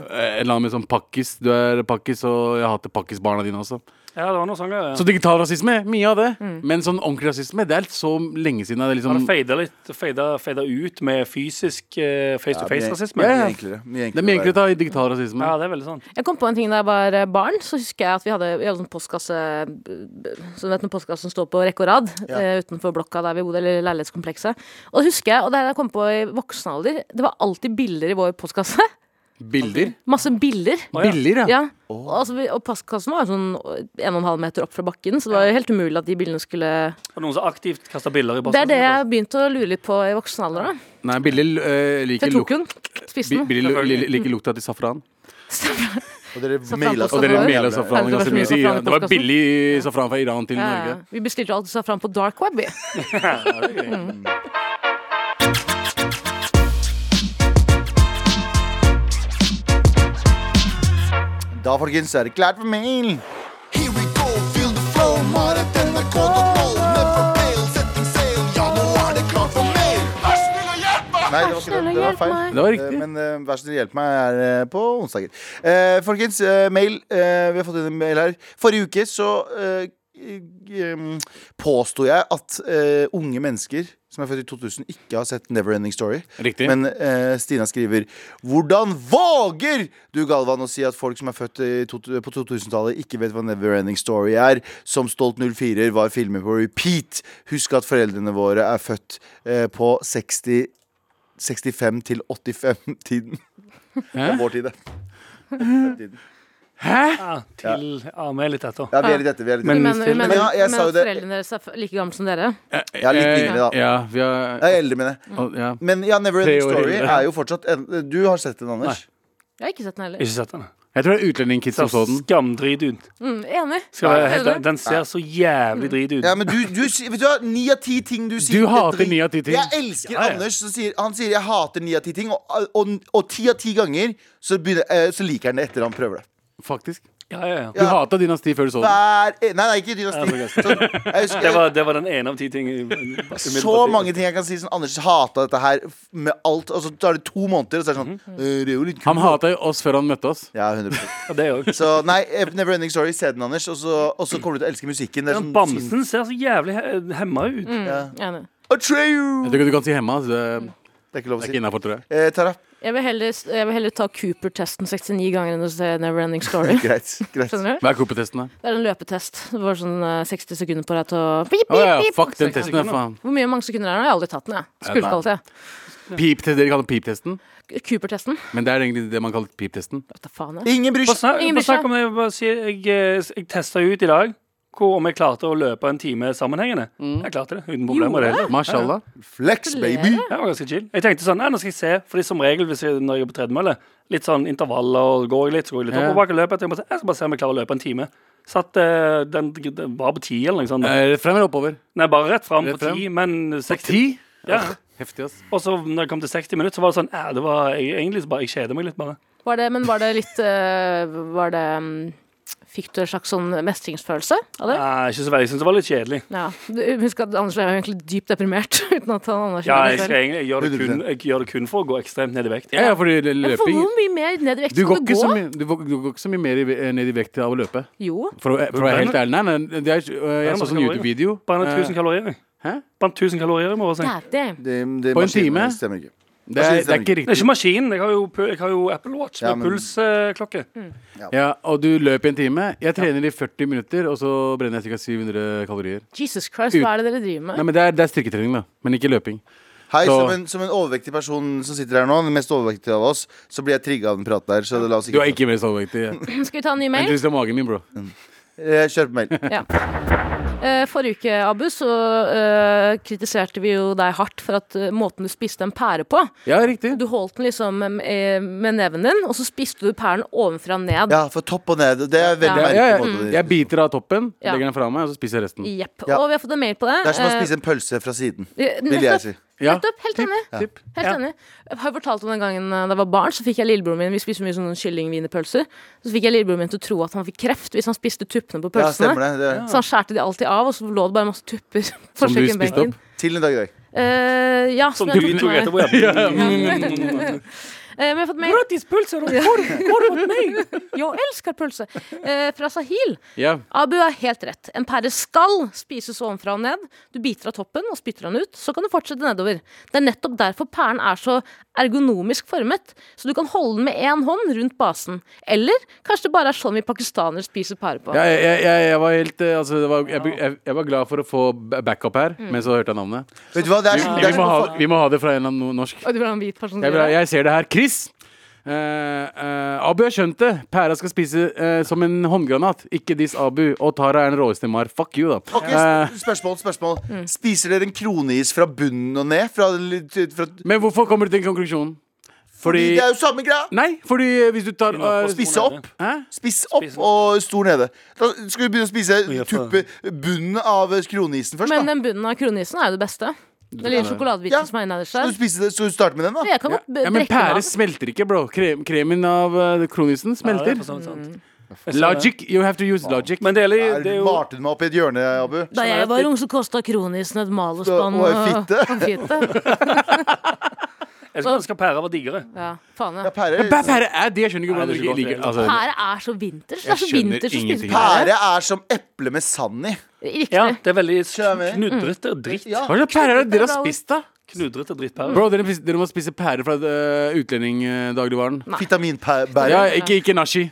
Speaker 4: eller annen med sånn pakkis. Du er pakkis, og jeg hater pakkisbarna dine også.
Speaker 6: Ja, det var noe sånt, ja.
Speaker 4: Så digital rasisme, mye av det.
Speaker 6: Mm.
Speaker 4: Men sånn ordentlig rasisme, det er så lenge siden. Det er
Speaker 6: Har det
Speaker 4: liksom
Speaker 6: fada litt fada, fada ut med fysisk eh, face-to-face-rasisme?
Speaker 2: Mye
Speaker 6: Ja,
Speaker 2: enklere. Mye
Speaker 4: Det er mye enklere å
Speaker 2: enklere.
Speaker 4: ta i digital rasisme.
Speaker 6: det er veldig sant.
Speaker 5: Jeg kom på en ting da jeg var eh, barn. Så husker jeg at vi hadde, vi hadde sånn postkasse Så du vet noen postkasse som står på rekke og rad eh, utenfor blokka der vi bodde, eller leilighetskomplekset. Og det husker jeg, og det her jeg kom på i voksen alder, det var alltid bilder i vår postkasse.
Speaker 4: Bilder.
Speaker 5: Masse bilder.
Speaker 4: Biller, ja.
Speaker 5: Ja. Og, altså, vi- og postkassen var jo sånn eh, en og en halv meter opp fra bakken, så det var jo helt umulig at de bildene skulle
Speaker 6: Det er noen som aktivt kaster biller i
Speaker 5: Det er det
Speaker 6: postkassen.
Speaker 5: jeg begynte å lure litt på i voksen alder, da.
Speaker 4: Nei, biller eh, liker
Speaker 5: Jeg tok
Speaker 4: luk-
Speaker 5: hun, spiste
Speaker 4: bi-
Speaker 5: den.
Speaker 4: biller li- liker lukta til safran.
Speaker 2: Og dere maila
Speaker 5: på
Speaker 4: Og dere
Speaker 5: Safran.
Speaker 4: mela safran
Speaker 5: Ja, det var
Speaker 4: ganske
Speaker 5: så mye
Speaker 4: mye. sier
Speaker 5: safran i
Speaker 4: jeg. Det var
Speaker 5: postkassen.
Speaker 4: billig safran fra Iran til
Speaker 5: Ja,
Speaker 4: Norge.
Speaker 5: ja. vi bestilte alltid safran på dark web. vi.
Speaker 2: Da, folkens, er det klart for mail.
Speaker 7: Here we go, feel the flow. Marit NRK.no. Nedfor pale, setting sail. Ja, nå er det klart for mer. Vær så snill og hjelp meg!
Speaker 2: Nei, det var ikke det. Det var feil.
Speaker 4: Det var riktig.
Speaker 2: Eh, Men eh, vær så snill, hjelp meg er eh, på onsdager. Eh, folkens, eh, mail. Eh, vi har fått inn en mail her. Forrige uke så uh, påsto jeg at eh, unge mennesker som er født i 2000, ikke har sett Neverending Story.
Speaker 4: Riktig.
Speaker 2: Men eh, Stina skriver Hvordan våger du, Galvan, å si at folk som er født i to, på 2000-tallet, ikke vet hva Neverending Story er? Som Stolt 04 var filmer på repeat. Husk at foreldrene våre er født eh, på 60 65 til 85-tiden. Det er vår tid, det. 85-tiden.
Speaker 6: Ja, til ja, vi er litt etter.
Speaker 2: Ja, vi er litt etter. Vi er litt
Speaker 5: Men,
Speaker 2: etter.
Speaker 5: men, men,
Speaker 2: Men ja, jeg sa jo
Speaker 5: at
Speaker 2: det.
Speaker 5: foreldrene deres er f- like gamle som dere.
Speaker 2: Jeg er litt yngre, da.
Speaker 4: Ja, vi er,
Speaker 2: Jeg er eldre, mener jeg.
Speaker 4: ja.
Speaker 2: Men ja, Never
Speaker 4: Tre
Speaker 2: Ending
Speaker 4: år
Speaker 2: Story
Speaker 4: eldre.
Speaker 2: er jo fortsatt en, Du har sett den, Anders?
Speaker 5: Jeg har ikke sett den heller.
Speaker 6: Ikke sett den.
Speaker 4: Jeg tror det er utlendingkids som så den.
Speaker 6: Skamdrit ut.
Speaker 5: Mm, enig.
Speaker 6: Skal jeg, helt,
Speaker 5: Enig.
Speaker 6: den ser så
Speaker 5: Mm.
Speaker 6: jævlig drit ut.
Speaker 2: Ja, men du, du si- Vet du hva, ni av ti ting du sier
Speaker 4: Du hater ni av ti ting.
Speaker 2: Jeg elsker
Speaker 6: Ja, ja.
Speaker 2: Anders. Som sier, han sier 'jeg hater ni av ti ting', og- og og ti av ti ganger så, begynner, eh, så liker han det etter han prøver det.
Speaker 4: Faktisk.
Speaker 6: Ja, ja, ja.
Speaker 4: Du hata Dynasti før du så den.
Speaker 2: Hver, e- nei, nei, ikke dynasti. Sånn, jeg husker,
Speaker 6: Det var, det var den ene av ti ting.
Speaker 2: så mange ting jeg kan si som Anders hata dette her f- med alt. Og så tar det to måneder, og så er det sånn «Eh, Det er jo litt kult.
Speaker 4: Mhm. Han hata jo oss før han møtte oss.
Speaker 2: Ja, 100%.
Speaker 6: Ja, det òg.
Speaker 2: Så nei, Neverending Story, se den, Anders. Og så, og så kommer du til å elske musikken. Det er sånn
Speaker 6: Bamsen ser så jævlig he hemma ut.
Speaker 4: Mm.
Speaker 5: Enig.
Speaker 2: Atreyu!
Speaker 4: Jeg tror ikke du kan si hemma. Så det,
Speaker 2: Det er ikke lov å
Speaker 4: Det er
Speaker 2: si.
Speaker 4: ikke innafor, tror jeg.
Speaker 2: Eh, Tara.
Speaker 5: Jeg vil heller, jeg vil heller ta Cooper-testen 69 ganger enn å se Neverending Story.
Speaker 2: Greit. greit.
Speaker 5: Skjønner du?
Speaker 4: Hva er Cooper-testen, da?
Speaker 5: Det er en løpetest. Det var sånn eh, 60 sekunder på deg til å pip,
Speaker 4: Å ja,
Speaker 5: pip, pip.
Speaker 4: fuck den testen, ja, faen.
Speaker 5: Hvor mye mange sekunder er det? Jeg har aldri tatt den, jeg.
Speaker 4: Ja,
Speaker 5: Skulle
Speaker 4: nei.
Speaker 5: kalt det
Speaker 4: Pip dere kaller det pip-testen,
Speaker 5: Cooper-testen.
Speaker 4: men det er egentlig det man kaller pip-testen.
Speaker 5: Vet da faen, jeg.
Speaker 2: Ingen bryr
Speaker 6: Bare
Speaker 2: seg.
Speaker 6: snak,
Speaker 5: Ingen
Speaker 6: bare
Speaker 5: bryr seg.
Speaker 6: snakk om det. Jeg, bare sier, jeg, eh, jeg testa ut i dag hvor om jeg klarte å løpe en time sammenhengende. Jeg klarte det uten problemer. Det. hele tatt.
Speaker 4: Mashallah.
Speaker 2: Flex, baby.
Speaker 6: Ja, Det var ganske chill. Jeg tenkte sånn, nei, nå skal jeg se, fordi som regel hvis jeg, når jeg er på tredemølle, litt sånn intervaller, og går jeg litt, så går jeg litt
Speaker 4: Ja.
Speaker 6: opp og bak og løper. Jeg, tenkte bare sånn, jeg skal bare se om jeg klarer å løpe en time. Satt, eh, den, den var på ti eller noe sånt.
Speaker 4: Eh, Frem eller oppover?
Speaker 6: Nei, bare rett fram
Speaker 4: Rett
Speaker 6: på ti, men 60.
Speaker 4: Ti?
Speaker 6: Ja.
Speaker 4: Heftig, ass.
Speaker 6: Og så når jeg kom til 60 minutter, så var det sånn, eh, det var jeg, egentlig så bare, jeg kjeder meg litt bare.
Speaker 5: Var det, men var det litt eh, Var det mm, Fikk du en slags sånn mestringsfølelse av det?
Speaker 6: Nei, ikke så veldig, jeg synes det var litt kjedelig.
Speaker 5: Ja. Du, Husk at Anders var jo egentlig dypt deprimert. Uten at han
Speaker 6: Ja,
Speaker 5: anerkjenner
Speaker 6: jeg,
Speaker 5: det
Speaker 6: skal
Speaker 5: selv.
Speaker 6: egentlig, jeg, gjør det kun, jeg gjør det kun for å gå ekstremt ned i vekt.
Speaker 4: Ja, ja, fordi det-
Speaker 5: Men for
Speaker 4: løping
Speaker 5: hvor mye mer ned i vekt
Speaker 4: du
Speaker 5: skal
Speaker 4: går,
Speaker 5: du
Speaker 4: ikke så
Speaker 5: gå?
Speaker 4: mye, du, går, du går ikke så mye mer i, ve- eh, ned i vekt av å løpe.
Speaker 5: Jo.
Speaker 4: For, å- for å være helt ærlig, nei, nei, det er, ikke- øh, jeg
Speaker 6: Brenner
Speaker 4: så sånn
Speaker 6: kalorier.
Speaker 4: YouTube-video.
Speaker 6: Bare
Speaker 4: Eh,
Speaker 6: 1000 kalorier.
Speaker 4: Hæ?
Speaker 6: Bare 1000 kalorier i morgen. så jeg-
Speaker 5: Daddy.
Speaker 2: Det, det,
Speaker 4: På en
Speaker 2: maskinen
Speaker 4: time?
Speaker 2: Stemmer ikke.
Speaker 4: Det er, det er ikke
Speaker 6: Det er
Speaker 4: riktig.
Speaker 6: ikke maskinen. Jeg har jo, pu- jeg har jo Apple Watch med
Speaker 2: Ja, men-
Speaker 6: pulsklokke.
Speaker 4: Ja, og du løper i en time. Jeg trener i 40 minutter, og så brenner jeg ca. 700 kalorier.
Speaker 5: Jesus Christ, hva er det dere driver
Speaker 4: Nei,
Speaker 5: med?
Speaker 4: men det er, det er styrketrening, da. Men ikke løping.
Speaker 2: Hei,
Speaker 4: Så-
Speaker 2: som en, som en overvektig person som sitter her nå, den mest overvektige av oss, så blir jeg trigga av den praten der. Så la oss
Speaker 4: Du
Speaker 2: ikke,
Speaker 4: er ikke mer overvektig.
Speaker 5: Skal vi ta en ny
Speaker 4: Men
Speaker 5: mail?
Speaker 4: du ser magen min, bro.
Speaker 2: Eh, Kjør på mail.
Speaker 5: Ja. Eh, Forrige uke, Abu, så eh, kritiserte vi jo deg hardt for at eh, måten du spiste en pære på
Speaker 4: Ja, riktig.
Speaker 5: Du holdt den liksom eh, med neven din, og så spiste du pæren ovenfra og ned.
Speaker 2: Ja, for topp og ned. Det er
Speaker 5: Ja,
Speaker 2: veldig
Speaker 4: Ja,
Speaker 2: merkelig.
Speaker 4: ja,
Speaker 2: måte å
Speaker 4: jeg,
Speaker 2: drive.
Speaker 4: jeg biter av toppen,
Speaker 5: Ja.
Speaker 4: legger den fra meg, og så spiser jeg resten.
Speaker 5: Jepp.
Speaker 2: Ja.
Speaker 5: Og vi har fått en mail på det.
Speaker 2: Det er som å
Speaker 5: Eh,
Speaker 2: spise en pølse fra siden,
Speaker 5: eh,
Speaker 2: vil jeg si.
Speaker 4: Ja.
Speaker 5: Nettopp. Helt enig.
Speaker 4: Tipp.
Speaker 5: Helt
Speaker 4: Ja.
Speaker 5: enig. Jeg har fortalt om den gangen eh, da jeg var barn, så fikk jeg lillebroren min Vi spiser mye sånne kyllingwienerpølser. Så fikk jeg lillebroren min til å tro at han fikk kreft hvis han spiste tuppene på
Speaker 2: Ja,
Speaker 5: pølsene.
Speaker 2: stemmer det. det er.
Speaker 5: så han skjærte de alltid av, og så lå det bare masse tupper. på
Speaker 4: Som du
Speaker 5: kjøkkenbenken.
Speaker 4: spiste opp.
Speaker 2: Til en dag i dag.
Speaker 5: Eh, ja,
Speaker 6: Som
Speaker 5: som
Speaker 6: du
Speaker 5: jeg tok med
Speaker 6: tok
Speaker 5: meg.
Speaker 6: etterpå. ja.
Speaker 5: Eh, men jeg har fått mail
Speaker 6: Gratis pølser! og hvor- hvor mot meg?
Speaker 5: Jeg elsker pølse! Eh, fra Sahil.
Speaker 4: Ja.
Speaker 5: Abu har helt rett. En pære skal spises ovenfra og ned. Du biter av toppen og spytter den ut. Så kan du fortsette nedover. Det er nettopp derfor pæren er så ergonomisk formet, så du kan holde den med én hånd rundt basen. Eller kanskje det bare er sånn vi pakistanere spiser pære på.
Speaker 4: Ja, jeg, jeg, jeg, jeg var helt eh, altså, det var, jeg, jeg, jeg var glad for å få ba- backup her,
Speaker 5: Mm.
Speaker 4: men så hørte jeg navnet.
Speaker 2: Vet du hva, det er, som- det
Speaker 4: Vi
Speaker 2: er
Speaker 4: må,
Speaker 2: som-
Speaker 4: ha, vi må ha det fra en eller annen norsk.
Speaker 5: Og du vil ha en hvit person
Speaker 4: Jeg,
Speaker 5: til
Speaker 4: vil,
Speaker 5: å
Speaker 4: ha-
Speaker 5: gjøre det?
Speaker 4: jeg ser det her. Chris! Eh, eh, Abu, jeg skjønte det. Pæra skal spise eh, som en håndgranat. Ikke diss Abu. Og Tara er den råeste mar. Fuck you, da.
Speaker 2: Ok,
Speaker 4: Eh,
Speaker 2: sp- spørsmål, spørsmål. Spiser dere en kroneis fra bunnen og ned? Fra, fra,
Speaker 4: men hvorfor kommer du til den konklusjonen? Fordi
Speaker 2: det er jo samme greia!
Speaker 4: Nei, fordi hvis du tar
Speaker 6: må
Speaker 4: eh,
Speaker 6: få
Speaker 2: Spisse opp.
Speaker 4: Hæ?
Speaker 2: Spiss opp og stor nede. Da skal vi begynne å spise tuppe bunnen av kronisen først,
Speaker 5: Men
Speaker 2: da.
Speaker 5: den bunnen av kronisen er jo det beste. Den lille sjokoladebiten
Speaker 2: Ja.
Speaker 5: som er innerst
Speaker 2: Skal
Speaker 5: der.
Speaker 2: du, spise det, skal du starte med den, da?
Speaker 5: Jeg kan godt b-
Speaker 4: Ja, men
Speaker 5: brekke den
Speaker 4: pære
Speaker 5: av.
Speaker 4: smelter ikke, bro. Krem, kremen av eh, kronisen
Speaker 6: Ja, det er
Speaker 4: smelter.
Speaker 6: for sånn sant.
Speaker 4: Logic. You have to use logic.
Speaker 6: Men det er, jo- det er
Speaker 2: Er-
Speaker 6: jo
Speaker 2: Malte du meg opp i et hjørne, Abu?
Speaker 5: Da jeg var ung, så kosta kronisen et mal og spann
Speaker 2: Og en fitte.
Speaker 5: konfitte.
Speaker 6: Jeg skulle ønske pæra var diggere.
Speaker 5: Ja, faen ja.
Speaker 2: Ja, pære,
Speaker 4: Pæ- Pære er det. Jeg skjønner ikke
Speaker 6: Nei,
Speaker 4: hvordan
Speaker 6: det
Speaker 4: du
Speaker 6: er
Speaker 4: ikke
Speaker 6: ikke
Speaker 4: liker
Speaker 6: godt.
Speaker 4: altså,
Speaker 5: Pære er så vinters. Det er
Speaker 4: Jeg
Speaker 5: så
Speaker 4: skjønner
Speaker 5: vinters å spise
Speaker 4: ingenting.
Speaker 5: pære.
Speaker 2: pære er som eple med sand i.
Speaker 5: Riktig.
Speaker 6: Ja, det er veldig
Speaker 2: Skjønner jeg.
Speaker 6: knudrete og dritt.
Speaker 2: Ja.
Speaker 4: Hva slags pære er det dere har spist, da?
Speaker 6: Knudrete drittpære.
Speaker 4: Bro, dere, spis- dere må spise pære fra uh, utlendingdagligvaren. Ja,
Speaker 2: Vitaminbære.
Speaker 4: ikke, ikke nashi.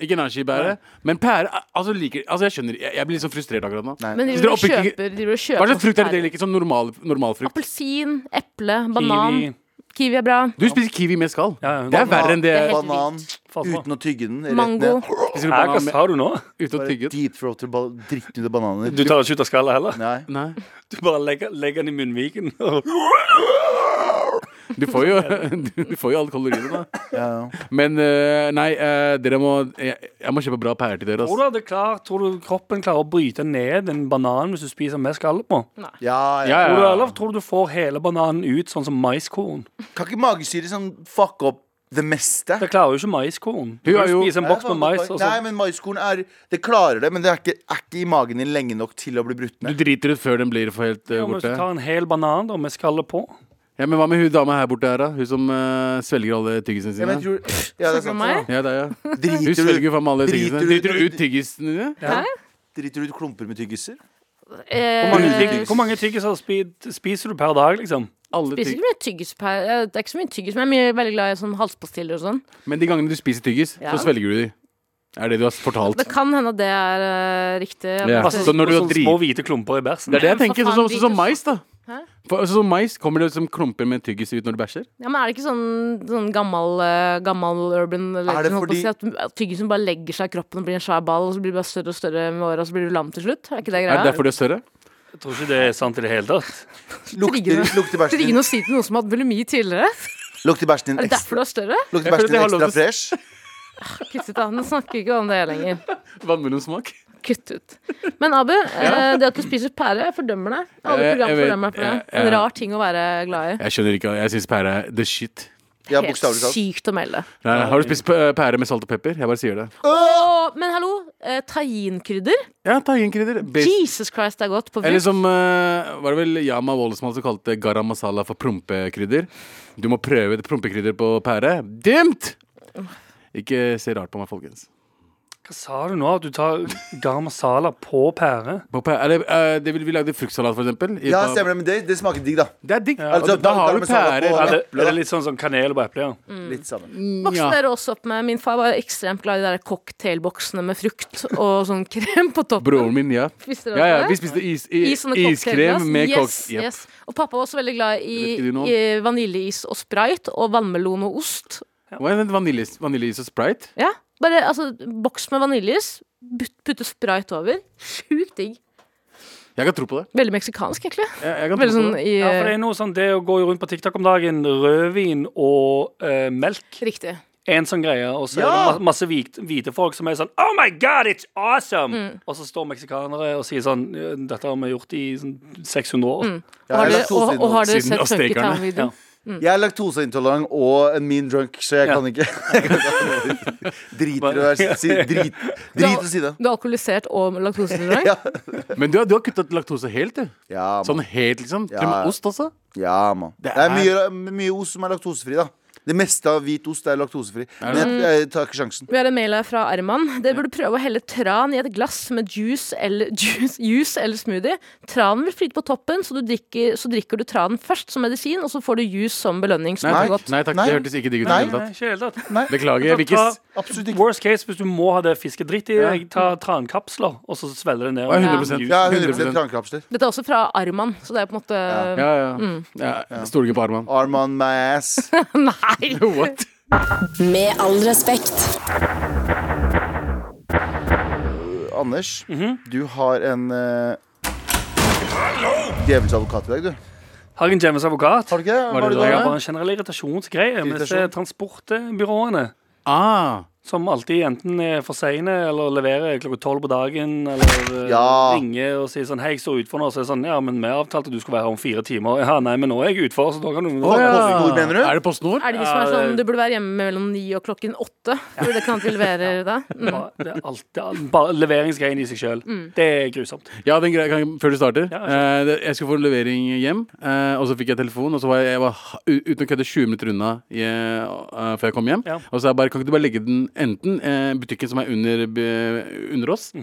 Speaker 4: Ikke nashi-bære. Men pære Altså, liker, altså jeg skjønner Jeg, jeg blir litt sånn frustrert akkurat nå.
Speaker 2: Nei.
Speaker 5: Men de driver
Speaker 4: Så dere
Speaker 5: og
Speaker 4: oppgir
Speaker 5: kjøper,
Speaker 4: ikke-
Speaker 5: de driver og
Speaker 4: Hva
Speaker 5: kjøper
Speaker 4: slags frukt er det
Speaker 5: pærer.
Speaker 4: dere liker? Sånn normal, normalfrukt?
Speaker 5: Appelsin, eple, banan.
Speaker 6: Kiwi.
Speaker 5: Kiwi er bra.
Speaker 4: Du spiser kiwi med skall.
Speaker 6: Ja, ja.
Speaker 4: Det er verre enn det
Speaker 5: helt
Speaker 2: Eh, Banan
Speaker 6: Faen, faen.
Speaker 2: uten å tygge den. rett
Speaker 5: Mango.
Speaker 2: ned.
Speaker 4: spiser du
Speaker 6: Hæ, Hva
Speaker 4: banan med
Speaker 6: sa du nå?
Speaker 4: uten å
Speaker 2: Bare
Speaker 4: tygge. den?
Speaker 2: Deep throater, bal- dritt ut av bananer.
Speaker 6: Du tar ikke ut av skallet heller?
Speaker 2: Nei.
Speaker 4: Nei.
Speaker 6: Du bare legger, legger den i munnviken.
Speaker 4: Du får jo, du, du får jo alle kaloriene, da.
Speaker 2: Ja, ja.
Speaker 4: Men eh, nei, eh, dere må jeg, jeg må kjøpe bra pærer til dere.
Speaker 6: Tror
Speaker 4: Ass.
Speaker 6: du, det klar, tror du kroppen klarer å bryte ned en banan hvis du spiser med skallet på?
Speaker 2: ja, ja.
Speaker 4: Ja,
Speaker 6: Tror du,
Speaker 4: ja.
Speaker 6: eller tror du du får hele bananen ut, sånn som maiskorn?
Speaker 2: Kan ikke magesyre sånn fuck opp det meste?
Speaker 6: Det klarer jo ikke maiskorn.
Speaker 4: Hun
Speaker 6: Du
Speaker 4: er
Speaker 6: kan
Speaker 4: jo-
Speaker 6: jo spise en boks med mais. Og sånn. så.
Speaker 2: Nei, men maiskorn er Det klarer det, men det er ikke, er ikke i magen din lenge nok til å bli brutt
Speaker 4: Du
Speaker 2: ned.
Speaker 4: driter ut før den blir for helt eh,
Speaker 6: Ja, men hvis du
Speaker 4: borte.
Speaker 6: tar en hel banan da, med skallet på
Speaker 4: Ja, Men hva med hun dama her borte her, da? Hun som eh, svelger alle tyggisene
Speaker 2: Ja,
Speaker 4: sine?
Speaker 2: men jeg tror, ja, det er
Speaker 5: For
Speaker 2: sant.
Speaker 5: meg.
Speaker 4: Ja, det er ja. Hun
Speaker 2: Driter
Speaker 4: svelger
Speaker 2: du,
Speaker 4: faen meg alle
Speaker 2: driter
Speaker 4: tyggisene.
Speaker 2: du-
Speaker 4: Driter du ut tyggisene dine?
Speaker 2: driter du ut klumper med tyggiser?
Speaker 5: Eh,
Speaker 6: Hvor mange tygg- Hvor mange tyggiser spi- spiser du per dag, liksom?
Speaker 4: Alle
Speaker 5: Spiser
Speaker 4: tygg.
Speaker 5: ikke mye tyggis per eh, Det er ikke så mye tyggis, men jeg er mye, veldig glad i sånn halspastiller og sånn.
Speaker 4: Men de gangene du spiser tyggis,
Speaker 5: Ja.
Speaker 4: så svelger du de. Er det du har fortalt.
Speaker 5: Det kan hende at det er eh, riktig.
Speaker 4: Ja.
Speaker 5: at-
Speaker 4: Så når du har
Speaker 6: Sånne
Speaker 4: drit-
Speaker 6: Altså, sånn små hvite klumper i bæsjen.
Speaker 4: Det er det jeg tenker.
Speaker 5: For
Speaker 4: Sånn som
Speaker 5: faen,
Speaker 4: sånn som
Speaker 5: drit-
Speaker 4: mais, da.
Speaker 5: Hæ?
Speaker 4: For, sånn som mais kommer det som klumper med tyggis ut når du bæsjer.
Speaker 5: Ja, men er det ikke sånn, sånn gammel, eh, gammel urban legend holdt på å
Speaker 2: fordi-
Speaker 5: si, at at tyggisen bare legger seg i kroppen og blir en svær ball, og så blir du bare større og større med åra, og så blir du lam til slutt? Er ikke det
Speaker 4: Er
Speaker 5: greia?
Speaker 4: det derfor de er større?
Speaker 6: Jeg tror ikke det er sant i det hele tatt.
Speaker 2: Lukter,
Speaker 5: Det
Speaker 2: lukter
Speaker 5: er
Speaker 2: bæsjen
Speaker 5: ikke
Speaker 2: din,
Speaker 5: noe å si til noen som har hatt bulimi tidligere.
Speaker 2: lukter bæsjen din
Speaker 5: Er det
Speaker 2: ekstra,
Speaker 5: derfor du er større?
Speaker 2: lukter
Speaker 4: Jeg føler
Speaker 2: bæsjen din
Speaker 4: at jeg har lov
Speaker 2: ekstra
Speaker 4: til
Speaker 2: fresh?
Speaker 5: Kutt ut, da. Nå snakker vi ikke om det lenger.
Speaker 4: Vannmelonsmak.
Speaker 5: Kutt ut. Men Abu, eh, det at du spiser pære, jeg fordømmer deg. Alle
Speaker 4: Eh, Jeg- jeg
Speaker 5: program
Speaker 4: vet- eh,
Speaker 5: fordømmer deg for
Speaker 4: jeg-
Speaker 5: det.
Speaker 4: jeg-
Speaker 5: En rar ting å være glad i.
Speaker 4: Jeg skjønner ikke. Jeg syns pære er the shit.
Speaker 2: Ja,
Speaker 5: Helt
Speaker 2: bokstavelig talt.
Speaker 5: sykt å melde.
Speaker 4: Nei, nei, har du spist pæ- pære med salt og pepper? Jeg bare sier det.
Speaker 5: Åh, men hallo, eh, tahinkrydder?
Speaker 4: Ja, tahinkrydder. Bas-
Speaker 5: Jesus Christ, det er godt. På
Speaker 4: Eller
Speaker 5: fisk.
Speaker 4: som eh, var det vel Yama Wollesmann som kalte garam masala for prompekrydder. Du må prøve det prompekrydder på pære. Dymt! Ikke se rart på meg, folkens.
Speaker 6: Hva sa du nå? At du tar garam masala på pære?
Speaker 4: På pære, eller, eh, det vil vi lagde fruktsalat, for eksempel. i-
Speaker 2: Ja, stemmer det. Men det, det smaker digg, da.
Speaker 4: Det er digg.
Speaker 6: Ja.
Speaker 4: Og da, da har du
Speaker 2: Parmesan
Speaker 4: pærer.
Speaker 2: på-
Speaker 6: Ja,
Speaker 4: Ja,
Speaker 6: det,
Speaker 4: det-
Speaker 6: er det litt sånn, sånn kanel på eplet? Ja.
Speaker 5: Mm.
Speaker 2: Litt sammen.
Speaker 5: Vokste
Speaker 4: ja.
Speaker 5: dere også opp med Min far var ekstremt glad i de der cocktailboksene med frukt og sånn krem på toppen.
Speaker 4: Broren min, ja.
Speaker 5: Spiste dere
Speaker 4: Ja, ja,
Speaker 5: også
Speaker 4: vi
Speaker 5: det?
Speaker 4: spiste is,
Speaker 5: I
Speaker 4: i,
Speaker 5: sånne
Speaker 4: iskrem
Speaker 5: cocktailglass.
Speaker 4: med
Speaker 5: yes,
Speaker 4: koks. Jep.
Speaker 5: yes. Og pappa var også veldig glad i,
Speaker 4: Det vet ikke du nå.
Speaker 5: i vaniljeis og sprite og vannmelon og ost.
Speaker 4: Hva er det? Vaniljeis vaniljeis og sprite?
Speaker 5: Ja, bare altså, boks med vaniljeis, but- putte sprite over. Sjukt digg.
Speaker 4: Jeg kan tro på det.
Speaker 5: Veldig meksikansk, egentlig.
Speaker 4: Jeg, jeg kan tro
Speaker 5: Veldig
Speaker 4: på
Speaker 5: sånn
Speaker 4: det.
Speaker 5: i
Speaker 6: Ja, for det er noe sånn det å gå rundt på TikTok om dagen, rødvin og eh, melk,
Speaker 5: Riktig.
Speaker 6: er en sånn greie. Og så
Speaker 2: Ja!
Speaker 6: er det ma- masse hvit, hvite folk som er sånn Oh my God, it's awesome! Og så står meksikanere og sier sånn Dette har vi gjort i sånn 600 år.
Speaker 2: Ja,
Speaker 5: Har
Speaker 2: jeg er
Speaker 5: dere, og, og har dere
Speaker 2: laktoseintolerant.
Speaker 4: Siden
Speaker 5: sett
Speaker 4: aztekerne.
Speaker 5: Funkitown-videoen?
Speaker 2: Jeg er laktoseintolerant og en mean drunk, så jeg
Speaker 6: Ja.
Speaker 2: kan ikke jeg kan ikke- Driter å være si, drit, drit å si det.
Speaker 5: Du er alkoholisert og laktoseintolerant?
Speaker 2: Ja.
Speaker 4: Men du, har- du har kuttet laktose helt, du.
Speaker 2: Ja,
Speaker 4: Sånn
Speaker 2: mann.
Speaker 4: helt, liksom.
Speaker 2: Ja,
Speaker 4: Til og med
Speaker 2: ja.
Speaker 4: ost også.
Speaker 2: Ja, man. Det er mye, mye ost som er laktosefri, da. Det meste av hvit ost er laktosefri. Men jeg, jeg tar ikke sjansen.
Speaker 5: Vi har en mail her fra Arman. Dere burde prøve å helle tran i et glass med juice eller, juice, juice eller smoothie. Tranen vil flyte på toppen, så, du drikker, så drikker du tranen først som medisin, og så får du juice som belønning.
Speaker 4: Nei
Speaker 2: Nei.
Speaker 4: takk, nei, takk.
Speaker 2: Nei.
Speaker 4: det hørtes ikke digg ut i det
Speaker 2: Nei.
Speaker 4: hele tatt.
Speaker 6: ikke i det hele tatt.
Speaker 2: Nei,
Speaker 4: Beklager. Jeg vil ikke s-
Speaker 2: absolutt ikke.
Speaker 6: Worst case, hvis du må ha det fiskedritt i deg, ta trankapsler, og så svelger det ned.
Speaker 4: Ja, 100%.
Speaker 2: Ja, 100
Speaker 4: 100%.
Speaker 2: trankapsler.
Speaker 5: Dette er også fra Arman, så det er på en måte
Speaker 4: Ja, ja.
Speaker 5: Mm.
Speaker 4: ja. jeg Stoler ikke på Arman.
Speaker 2: Arm on my ass.
Speaker 5: Nei!
Speaker 4: What?
Speaker 1: Med all respekt.
Speaker 2: Anders, du har en uh, Djevelens advokat i dag, du.
Speaker 6: Hagen James advokat.
Speaker 2: Har du ikke det?
Speaker 4: Var det
Speaker 2: Har du
Speaker 4: det?
Speaker 6: Jeg
Speaker 2: det?
Speaker 6: har bare en generell irritasjonsgreie med disse
Speaker 2: Irritasjon?
Speaker 6: transportbyråene.
Speaker 4: Ah,
Speaker 6: Som alltid enten er for seine eller leverer klokka tolv på dagen. Eller eh,
Speaker 2: Ja.
Speaker 6: ringer og sier sånn 'Hei, jeg står utfor nå.' Og så er det sånn 'Ja, men vi avtalte at du skulle være her om fire timer.' 'Ja, nei, men nå er jeg utfor, så da kan du
Speaker 4: Å, ja.
Speaker 2: PostNord, mener du?
Speaker 4: Er det PostNord?
Speaker 5: Er det de som er
Speaker 6: Ja, det-
Speaker 5: sånn du burde være hjemme mellom ni og klokken åtte? For det kan at vi leverer da. Mm.
Speaker 6: Bare- Det er alt, det er alt- bare leveringsgreien i seg sjøl. Det er grusomt.
Speaker 4: Ja, den greia kan jeg- før du starter.
Speaker 6: Ja,
Speaker 4: Eh, det- jeg skulle få en levering hjem, eh, og så fikk jeg telefon. Og så var jeg, jeg var, ha- u- uten å kødde 20 minutter unna i, eh, før jeg kom hjem.
Speaker 6: Ja.
Speaker 4: Og så er jeg bare, kan ikke du bare legge den enten eh, butikken som er under, b- under oss,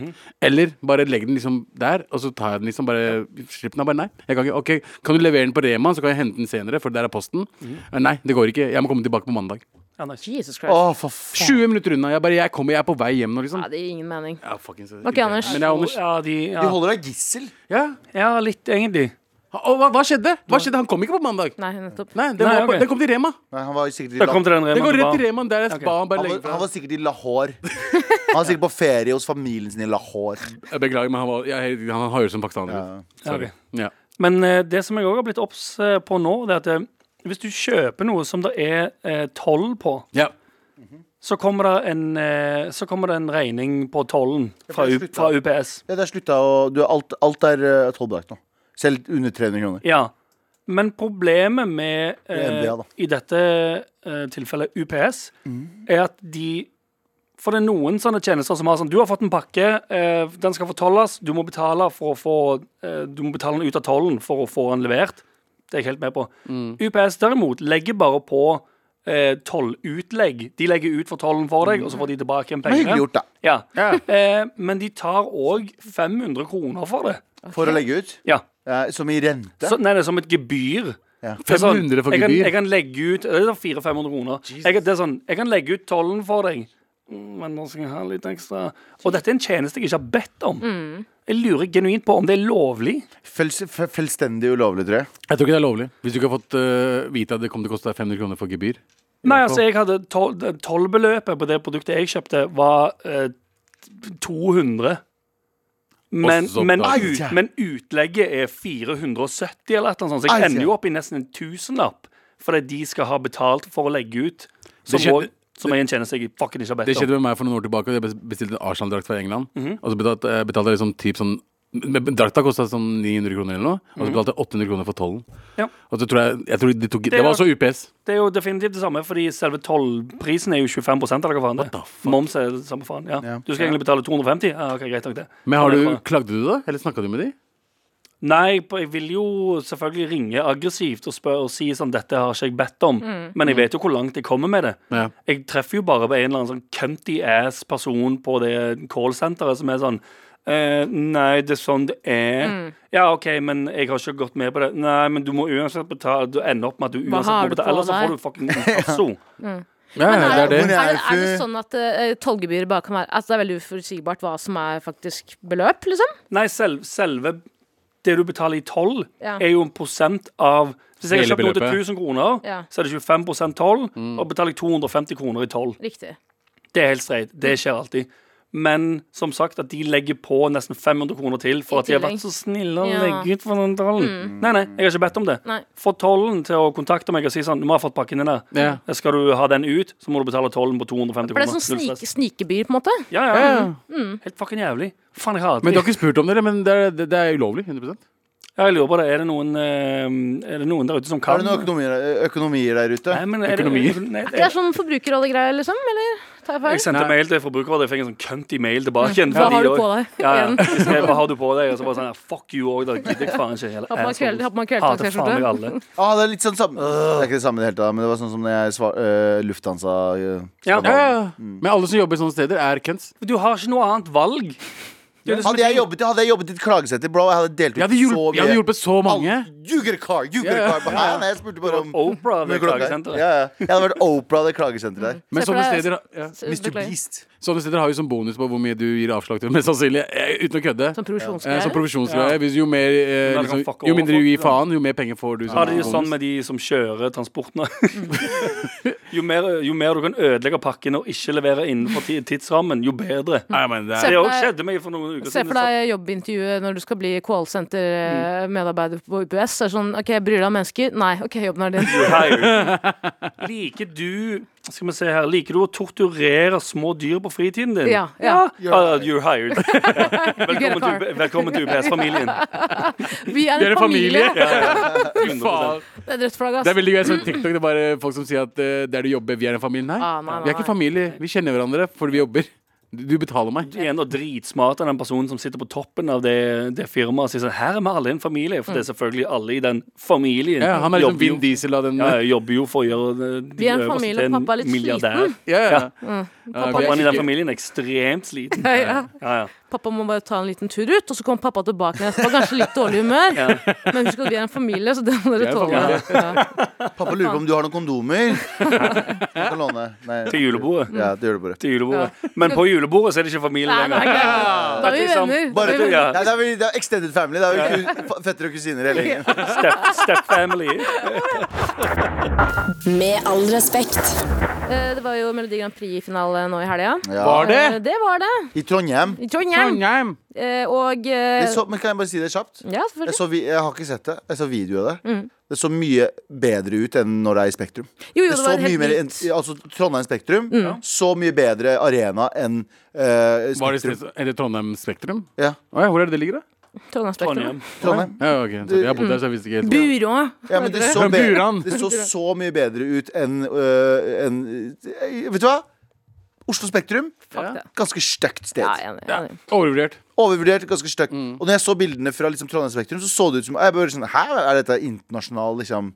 Speaker 4: eller bare legge den liksom der, og så tar jeg den liksom bare Slipp den av, bare nei. Jeg kan ikke, ok, Kan du levere den på Rema, så kan jeg hente den senere, for der er posten? Eh, Nei, det går ikke. Jeg må komme tilbake på mandag.
Speaker 6: Ja, nice.
Speaker 5: Jesus
Speaker 2: Å,
Speaker 5: Christ.
Speaker 2: for
Speaker 4: 20
Speaker 2: faen.
Speaker 4: minutter unna. Jeg bare, jeg kommer, jeg er på vei hjem nå, liksom.
Speaker 5: Ja, det gir ingen mening.
Speaker 4: Ja, fuckings,
Speaker 5: Ok,
Speaker 4: irriterende.
Speaker 5: Anders.
Speaker 4: Men jeg, Anders
Speaker 6: Ja, de,
Speaker 2: De
Speaker 6: ja.
Speaker 2: holder deg gissel.
Speaker 4: ja.
Speaker 6: ja, litt egentlig.
Speaker 4: Og hva, hva skjedde? Hva skjedde? Han kom ikke på mandag.
Speaker 5: Nei, nettopp.
Speaker 4: Nei, den,
Speaker 6: Nei,
Speaker 4: var på,
Speaker 6: ok.
Speaker 4: den kom til Rema.
Speaker 2: Nei, han var sikkert i
Speaker 6: Da kom
Speaker 2: land.
Speaker 6: til den
Speaker 4: Den går rett
Speaker 6: remaen.
Speaker 4: til Rema. Der jeg
Speaker 6: Ok.
Speaker 4: ba han bare
Speaker 2: Han
Speaker 4: legge
Speaker 2: var,
Speaker 4: fra.
Speaker 2: han var sikkert i Lahore. Han var sikkert på ferie hos familien sin i Lahore.
Speaker 4: Jeg Beklager, men han, var, jeg, han har jo som pakistaner.
Speaker 6: Ja, ok.
Speaker 4: Ja.
Speaker 6: Men eh, det som jeg òg har blitt obs eh, på nå, det er at eh, hvis du kjøper noe som det er eh, toll på
Speaker 4: Ja.
Speaker 6: så kommer det en, eh, så kommer det en regning på tollen fra,
Speaker 2: det er
Speaker 6: U-
Speaker 2: slutt,
Speaker 6: fra
Speaker 2: da.
Speaker 6: UPS.
Speaker 2: Ja, det er slutta å du, alt, alt er uh, tollbelagt nå. Selv under 300 kroner.
Speaker 6: Ja. Men problemet med
Speaker 2: er
Speaker 6: eh,
Speaker 2: NBA, da.
Speaker 6: i dette eh, tilfellet UPS,
Speaker 2: Mm.
Speaker 6: er at de For det er noen sånne tjenester som har sånn Du har fått en pakke, eh, den skal fortolles, du må betale for å få eh, Du må betale den ut av tollen for å få den levert. Det er jeg helt med på.
Speaker 2: Mm.
Speaker 6: UPS derimot legger bare på eh, tollutlegg. De legger ut for tollen for deg, og så får de tilbake igjen
Speaker 2: Men
Speaker 6: pengene.
Speaker 2: hyggelig gjort, da.
Speaker 6: Ja. Eh, men de tar òg 500 kroner for det.
Speaker 2: For å legge ut.
Speaker 6: Ja.
Speaker 2: Eh, som i rente.
Speaker 6: Så, nei, det er som et gebyr. Det er sånn,
Speaker 4: 500 for
Speaker 6: jeg kan, jeg
Speaker 4: gebyr.
Speaker 6: kan legge ut Det er sånn 400-500 kroner. Jeg, det er sånn, jeg kan legge ut tollen for deg, Mm, men nå skal jeg ha litt ekstra. Og dette er en tjeneste jeg ikke har bedt om.
Speaker 4: Mm.
Speaker 6: Jeg lurer genuint på om det er lovlig.
Speaker 2: Fels, fe- fullstendig ulovlig, tror jeg.
Speaker 4: Jeg tror ikke det er lovlig. Hvis du ikke har fått eh, vite at det kommer til å koste deg 500 kroner for gebyr.
Speaker 6: Nei, altså, jeg hadde tol- det- tollbeløpet på det produktet jeg kjøpte, var eh, 200.
Speaker 4: Og
Speaker 6: Men,
Speaker 4: så
Speaker 6: men,
Speaker 4: bra.
Speaker 6: ut, men utlegget er 470 eller et eller annet sånt, så
Speaker 2: Ai,
Speaker 6: jeg
Speaker 2: ja.
Speaker 6: ender jo opp i nesten en tusenlapp fordi de skal ha betalt for å legge ut, som,
Speaker 4: skjedde-
Speaker 6: også- som er en tjeneste jeg fucking ikke har
Speaker 4: Det
Speaker 6: bedt om.
Speaker 4: skjedde med meg for noen år tilbake. Jeg bestilte en Arsenal-drakt fra England. Og så betalte, eh, betalte jeg liksom typ sånn men Drakta kosta sånn 900 kroner eller noe, og så betalte jeg 800 kroner for tollen.
Speaker 6: Ja.
Speaker 4: Og så tror jeg, jeg tror de tok, det,
Speaker 6: er
Speaker 4: var
Speaker 6: jo-
Speaker 4: også UPS.
Speaker 6: Det er jo definitivt det samme, fordi selve tollprisen er jo 25 eller hva faen det er. Moms er det samme faen. Ja. Du skal egentlig betale 250? Ja, ok, greit nok det.
Speaker 4: Men har
Speaker 6: Ja, det er
Speaker 4: du,
Speaker 6: bra.
Speaker 4: klagde du da? Eller snakka du med de?
Speaker 6: Nei, på- jeg vil jo selvfølgelig ringe aggressivt og spørre og si sånn Dette har ikke jeg bedt om,
Speaker 5: Mm.
Speaker 6: men jeg vet jo hvor langt jeg kommer med det.
Speaker 4: Ja.
Speaker 6: Jeg treffer jo bare på en eller annen sånn cunty ass person på det callsenteret som er sånn «Eh, nei, det er sånn det er.
Speaker 5: Mm.
Speaker 6: Ja, OK, men jeg har ikke gått med på det. Nei, men du må uansett betale. Du ender opp med at du uansett
Speaker 5: har
Speaker 6: må
Speaker 5: du
Speaker 6: betale.
Speaker 5: på
Speaker 6: Ellers så
Speaker 5: deg?
Speaker 6: får du fucking inkasso.
Speaker 4: Ja,
Speaker 5: Men
Speaker 4: ja, det er
Speaker 2: Men
Speaker 5: Er, det,
Speaker 4: det.
Speaker 2: jeg er
Speaker 5: er det
Speaker 2: ikke-
Speaker 5: sånn at uh, tollgebyret bare kan være Altså Det er veldig uforutsigbart hva som er faktisk beløp, liksom?
Speaker 6: Nei, selv, selve det du betaler i toll,
Speaker 5: Ja.
Speaker 6: er jo en prosent av Hvis jeg har
Speaker 4: Hele
Speaker 6: kjøpt noe til
Speaker 4: beløpet.
Speaker 6: 1000 kroner,
Speaker 5: Ja.
Speaker 6: så er det 25 toll, og betaler jeg 250 kroner i toll.
Speaker 5: Riktig.
Speaker 6: Det er helt streit. Det skjer alltid. Men som sagt, at de legger på nesten 500 kroner til for
Speaker 5: I
Speaker 6: at de har
Speaker 5: tillegg.
Speaker 6: vært så snille å
Speaker 5: Ja. Mm.
Speaker 6: legge ut for den tollen. Nei, nei, jeg har ikke bedt om det.
Speaker 5: Nei.
Speaker 6: Få tollen til å kontakte meg og si sånn Du må ha fått pakken din der. Eh,
Speaker 4: Ja.
Speaker 6: Skal du ha den ut, så må du betale tollen på 250
Speaker 5: For det er
Speaker 6: kroner.
Speaker 5: sånn Mm.
Speaker 6: Null
Speaker 5: snik,
Speaker 6: stress.
Speaker 5: snikebyr, på en måte.
Speaker 6: Ja, ja. Helt fucking jævlig. Faen, jeg hater
Speaker 4: Men
Speaker 6: det.
Speaker 4: du har ikke spurt om det, eller? men det er, det, det er ulovlig. 100
Speaker 6: Ja, Jeg lurer på det. Er det noen, eh, er det noen der ute som kan
Speaker 2: Er det noen økonomier, eh, økonomier der ute?
Speaker 6: Nei, men er det-
Speaker 4: Økonomier?
Speaker 6: Nei, det-
Speaker 5: Det er sånn forbrukerrollegreier, liksom? Eller tar jeg
Speaker 6: Jeg
Speaker 5: feil?
Speaker 6: sendte mail til Forbrukerrådet, jeg fikk en sånn cunty mail tilbake. igjen,
Speaker 5: Hva
Speaker 6: fordi
Speaker 5: har du
Speaker 6: da-
Speaker 5: på deg?
Speaker 6: Ja, ja.
Speaker 5: Igjen.
Speaker 6: Jeg skrev, Hva har du på deg? Og så bare sånn, ja, fuck you òg, da gidder jeg faen ikke. hele
Speaker 5: på meg
Speaker 6: assholes.
Speaker 5: kveld- har på meg kveldtak,
Speaker 6: Hater
Speaker 5: T-skjorte.
Speaker 6: faen meg alle.
Speaker 2: Ah, det er litt sånn samme Det er ikke det samme i det hele tatt, men det var sånn som når jeg svar, øh, Lufthansa øh,
Speaker 6: Ja. Mm.
Speaker 4: Ja, ja. Men alle som jobber i sånne steder, er cunts.
Speaker 6: Du har ikke noe annet valg. Det er det som liksom-
Speaker 2: hadde, jeg
Speaker 6: er-
Speaker 2: jobbet, hadde jeg jobbet i et klagesenter, bro, jeg hadde delt ut
Speaker 4: Jeg hadde, hjulpet, jeg hadde
Speaker 2: så mye.
Speaker 4: hjulpet så mange.
Speaker 2: You get a car, you get a car. Bare, nei, nei, jeg spurte bare om
Speaker 6: Oprah,
Speaker 2: med
Speaker 6: det
Speaker 2: klokka.
Speaker 6: klagesenteret.
Speaker 2: Ja, ja. Jeg hadde vært Oprah det klagesenteret der.
Speaker 4: Men
Speaker 5: Se for
Speaker 4: sånne
Speaker 5: deg-
Speaker 4: steder, ja.
Speaker 5: Mr.
Speaker 2: Beast.
Speaker 4: sånne steder har jo som bonus på hvor mye du gir avslag til, mest sannsynlig. eh, Uten å kødde.
Speaker 5: Sånn
Speaker 4: Eh, Som
Speaker 5: provisjonsgreier?
Speaker 4: provisjonsgreie. Hvis Jo, mer, eh,
Speaker 6: Da kan
Speaker 4: liksom,
Speaker 6: fucke
Speaker 4: jo
Speaker 6: over
Speaker 4: mindre du
Speaker 6: folk,
Speaker 4: gir
Speaker 6: da.
Speaker 4: faen, jo mer penger får du. liksom. som
Speaker 6: Ja, det er jo
Speaker 4: bonus.
Speaker 6: sånn med de som kjører transporten. jo, mer, jo mer du kan ødelegge pakken og ikke levere innenfor ti- tidsrammen, jo bedre.
Speaker 4: Nei, men det er,
Speaker 6: Det
Speaker 5: Se-
Speaker 6: òg skjedde meg for noen uker
Speaker 5: Se for
Speaker 6: så-
Speaker 5: deg jobbintervjuet når du skal bli callsenter-medarbeider på UPS. Så er det sånn, ok, Bryr du deg om mennesker? Nei. Ok, jobben er din.
Speaker 6: Hei. Liker du Skal vi se her Liker du å torturere små dyr på fritiden din?
Speaker 5: Ja, ja.
Speaker 6: Ah, you're hired.
Speaker 5: get a
Speaker 6: velkommen,
Speaker 5: car.
Speaker 6: til, velkommen til UPS-familien.
Speaker 5: Vi er en
Speaker 4: Dere er familie.
Speaker 5: familie!
Speaker 4: Fy faen.
Speaker 5: Det er et rødt flagg,
Speaker 4: Det er
Speaker 5: ass.
Speaker 4: veldig gøy. Jeg så en TikTok, det er bare folk som sier at eh, der du jobber, vi er en familie. Nei,
Speaker 5: Ah, nei, nei,
Speaker 4: vi er ikke
Speaker 5: nei.
Speaker 4: familie. Vi kjenner hverandre fordi vi jobber. Du du betaler meg.
Speaker 6: Du er ennå dritsmart av den personen som sitter på toppen av det, det firmaet og sier sånn Her er vi alle en familie. For det
Speaker 5: Mm.
Speaker 6: er selvfølgelig alle i den familien.
Speaker 4: Ja, han er liksom
Speaker 6: Jobber jo-
Speaker 4: Vin Diesel av den
Speaker 6: ja, jeg jobber jo for å gjøre eh, de
Speaker 5: Vi er en
Speaker 6: øverste
Speaker 5: familie,
Speaker 6: til en
Speaker 5: pappa er litt
Speaker 6: milliardær.
Speaker 4: Ja, ja.
Speaker 5: Mm.
Speaker 4: Ja, vi er
Speaker 6: Pappaen i den
Speaker 4: ikke-
Speaker 6: familien er ekstremt sliten.
Speaker 5: Ja, ja.
Speaker 6: Ja, ja.
Speaker 5: Pappa må bare ta en liten tur ut, og så kommer pappa tilbake igjen etterpå. Kanskje litt dårlig humør. Men husk at vi er en familie, så det må
Speaker 4: Vi er
Speaker 5: dere
Speaker 4: en
Speaker 5: tåle. Ja.
Speaker 2: Pappa lurer på om du har noen kondomer. Du kan låne. Nei.
Speaker 6: Til julebordet.
Speaker 2: Ja, det gjør du bare.
Speaker 6: Til julebordet. Men på julebordet så er det ikke familie
Speaker 5: Nei, nei,
Speaker 6: lenger.
Speaker 5: greit. Da er vi
Speaker 6: Liksom,
Speaker 5: venner. Da
Speaker 2: Bare,
Speaker 5: er vi
Speaker 6: ja.
Speaker 5: venner.
Speaker 2: Nei, det, er, vel- det er extended family. Det er jo ku- fettere og kusiner hele gjengen.
Speaker 6: Step, step family.
Speaker 1: Med all respekt.
Speaker 5: Eh, Det var jo Melodi Grand Prix-finale nå i helga.
Speaker 2: Ja.
Speaker 4: Var det?
Speaker 5: Eh, Det var det.
Speaker 2: I Trondheim.
Speaker 5: I Trondheim.
Speaker 4: Trondheim.
Speaker 5: Eh, Og eh,
Speaker 2: Jeg så, men kan jeg bare si det kjapt?
Speaker 5: Ja, selvfølgelig.
Speaker 2: Jeg, så vi, jeg har ikke sett det. Jeg så video av det.
Speaker 5: Mm.
Speaker 2: Det så mye bedre ut enn når det er i Spektrum.
Speaker 5: Jo, jo,
Speaker 2: det
Speaker 5: det
Speaker 2: så
Speaker 5: var
Speaker 2: mye
Speaker 5: helt Mm.
Speaker 2: mer,
Speaker 5: vilt.
Speaker 2: enn- altså Trondheim Spektrum, så mye bedre arena enn eh,
Speaker 4: Var det,
Speaker 2: Spektrum.
Speaker 4: sted- er det Trondheim Spektrum?
Speaker 2: Ja,
Speaker 4: Å ja, hvor er det det ligger, da?
Speaker 5: Trondheim Spektrum.
Speaker 6: Trondheim.
Speaker 2: Trondheim.
Speaker 4: Ja, ok, så Jeg har bodd der, så jeg visste ikke helt. hvor-
Speaker 5: Burå.
Speaker 2: Ja, men det så,
Speaker 4: Men
Speaker 2: be-
Speaker 4: Buran.
Speaker 2: det så så mye bedre ut enn eh, enn- eh, Vet du hva? Oslo Spektrum,
Speaker 5: Fuck det.
Speaker 2: ganske stygt sted.
Speaker 5: Ja, enig, enig.
Speaker 4: Overvurdert.
Speaker 2: Overvurdert, ganske stygt. Og når jeg så bildene fra liksom, Trondheim Spektrum, så så det ut som jeg bare sånn, Hæ, er dette internasjonal liksom,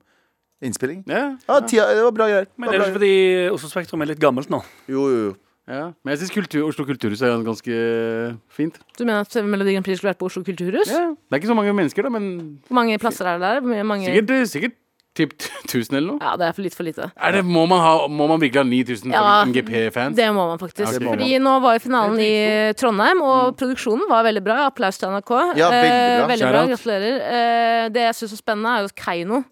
Speaker 2: innspilling?
Speaker 4: Ja,
Speaker 2: Ja, tida, det var bra greier. Det
Speaker 6: Men
Speaker 2: var
Speaker 6: er det
Speaker 2: bra
Speaker 6: ikke fordi Oslo Spektrum er litt gammelt nå?
Speaker 2: greier. Jo, jo, jo.
Speaker 4: ja. Men jeg syns kultur, Oslo kulturhus er ganske eh, fint.
Speaker 5: Du mener at Melodi Grand Prix skulle vært på Oslo kulturhus?
Speaker 4: Ja. Det er ikke så mange mennesker, da, men
Speaker 5: Hvor mange plasser er det der? Hvor mange-
Speaker 4: sikkert, sikkert Typ 1000 eller noe?
Speaker 5: Ja, det er for litt for lite.
Speaker 4: Er det, må, man ha, må man virkelig ha 9000
Speaker 5: Ja,
Speaker 4: MGP-fans?
Speaker 5: Det må man faktisk.
Speaker 4: Ok.
Speaker 5: Fordi nå var jo finalen i Trondheim, og produksjonen var veldig bra. Applaus til NRK.
Speaker 2: Mm. Ja, veldig bra.
Speaker 5: Eh, veldig bra.
Speaker 4: Shout out.
Speaker 5: Gratulerer. Eh, det jeg syns er spennende, er jo Keiino.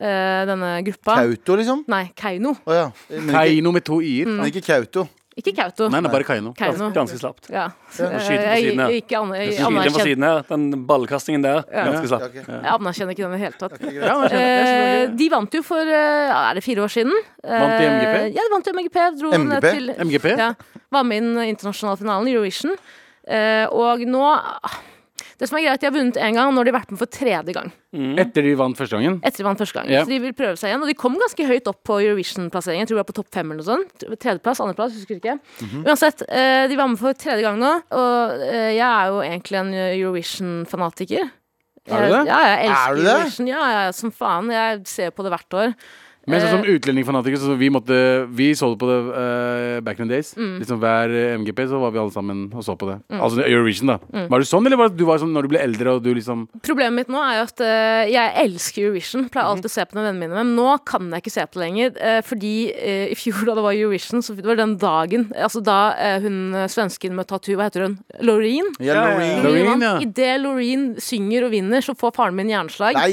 Speaker 5: Eh, denne gruppa.
Speaker 2: Kauto, liksom?
Speaker 5: Nei, Keiino.
Speaker 2: Å ja. Men ikke,
Speaker 4: Kaino med to i-er.
Speaker 2: men ikke Kauto.
Speaker 5: Ikke Kauto.
Speaker 4: Nei, det er bare Kaino.
Speaker 5: Keiino.
Speaker 6: Ganske slapt.
Speaker 5: Ja.
Speaker 6: må
Speaker 5: Eh,
Speaker 6: skyte på
Speaker 5: Jeg,
Speaker 6: siden her.
Speaker 5: jeg, ikke an- jeg,
Speaker 6: Skyter inn fra
Speaker 5: anerkjenner,
Speaker 6: siden her. Den ballkastingen der. Ganske slapp.
Speaker 2: ok.
Speaker 5: jeg anerkjenner ikke den i det hele tatt.
Speaker 4: Ja, men skjønner. Jeg skjønner
Speaker 5: Eh,
Speaker 4: det.
Speaker 5: de vant jo for eh, ja, Er det fire år siden? Eh,
Speaker 4: Vant de MGP?
Speaker 5: Ja, de vant jo MGP. Dro ned
Speaker 2: MGP?
Speaker 5: Til,
Speaker 4: MGP?
Speaker 5: Ja, var med i den internasjonale finalen, Eurovision. Eh, og nå Det som er greit, de har vunnet én gang, og nå har de vært med for tredje gang.
Speaker 4: Etter de vant første gangen.
Speaker 5: Etter de vant første gang
Speaker 4: Ja.
Speaker 5: Så de vil prøve seg igjen. Og de kom ganske høyt opp på Eurovision-plasseringen. Jeg tror de var på topp fem eller noe sånt. Tredjeplass, andreplass, husker ikke.
Speaker 4: Mhm.
Speaker 5: Uansett, eh, de var med for tredje gang nå, og eh, jeg er jo egentlig en Eurovision-fanatiker. Eh,
Speaker 4: Er du det?
Speaker 5: Ja, jeg elsker
Speaker 2: Er du det?
Speaker 5: Eurovision. Ja, ja, som faen. Jeg ser på det hvert år.
Speaker 4: Men
Speaker 5: Eh,
Speaker 4: sånn som utlendingfanatiker, så vi måtte Vi så det på det eh, back in the days.
Speaker 5: Mm.
Speaker 4: Liksom Hver eh, MGP så var vi alle sammen og så på det. Altså Eurovision, da.
Speaker 5: Mm.
Speaker 4: Var du sånn, eller var det- du var sånn når du ble eldre og du liksom
Speaker 5: Problemet mitt nå er jo at eh, jeg elsker Eurovision. Pleier
Speaker 4: Mhm.
Speaker 5: alltid å se på det med vennene mine, men nå kan jeg ikke se på det lenger. eh, fordi eh, i fjor da det var Eurovision, så det var den dagen Altså da eh, hun eh, svensken med tattoo, hva heter hun? Loreen?
Speaker 2: Ja, Loreen.
Speaker 4: Loreen,
Speaker 5: Loreen, ja.
Speaker 4: ja.
Speaker 5: Idet Loreen synger og vinner, så får faren min jernslag.
Speaker 2: Nei!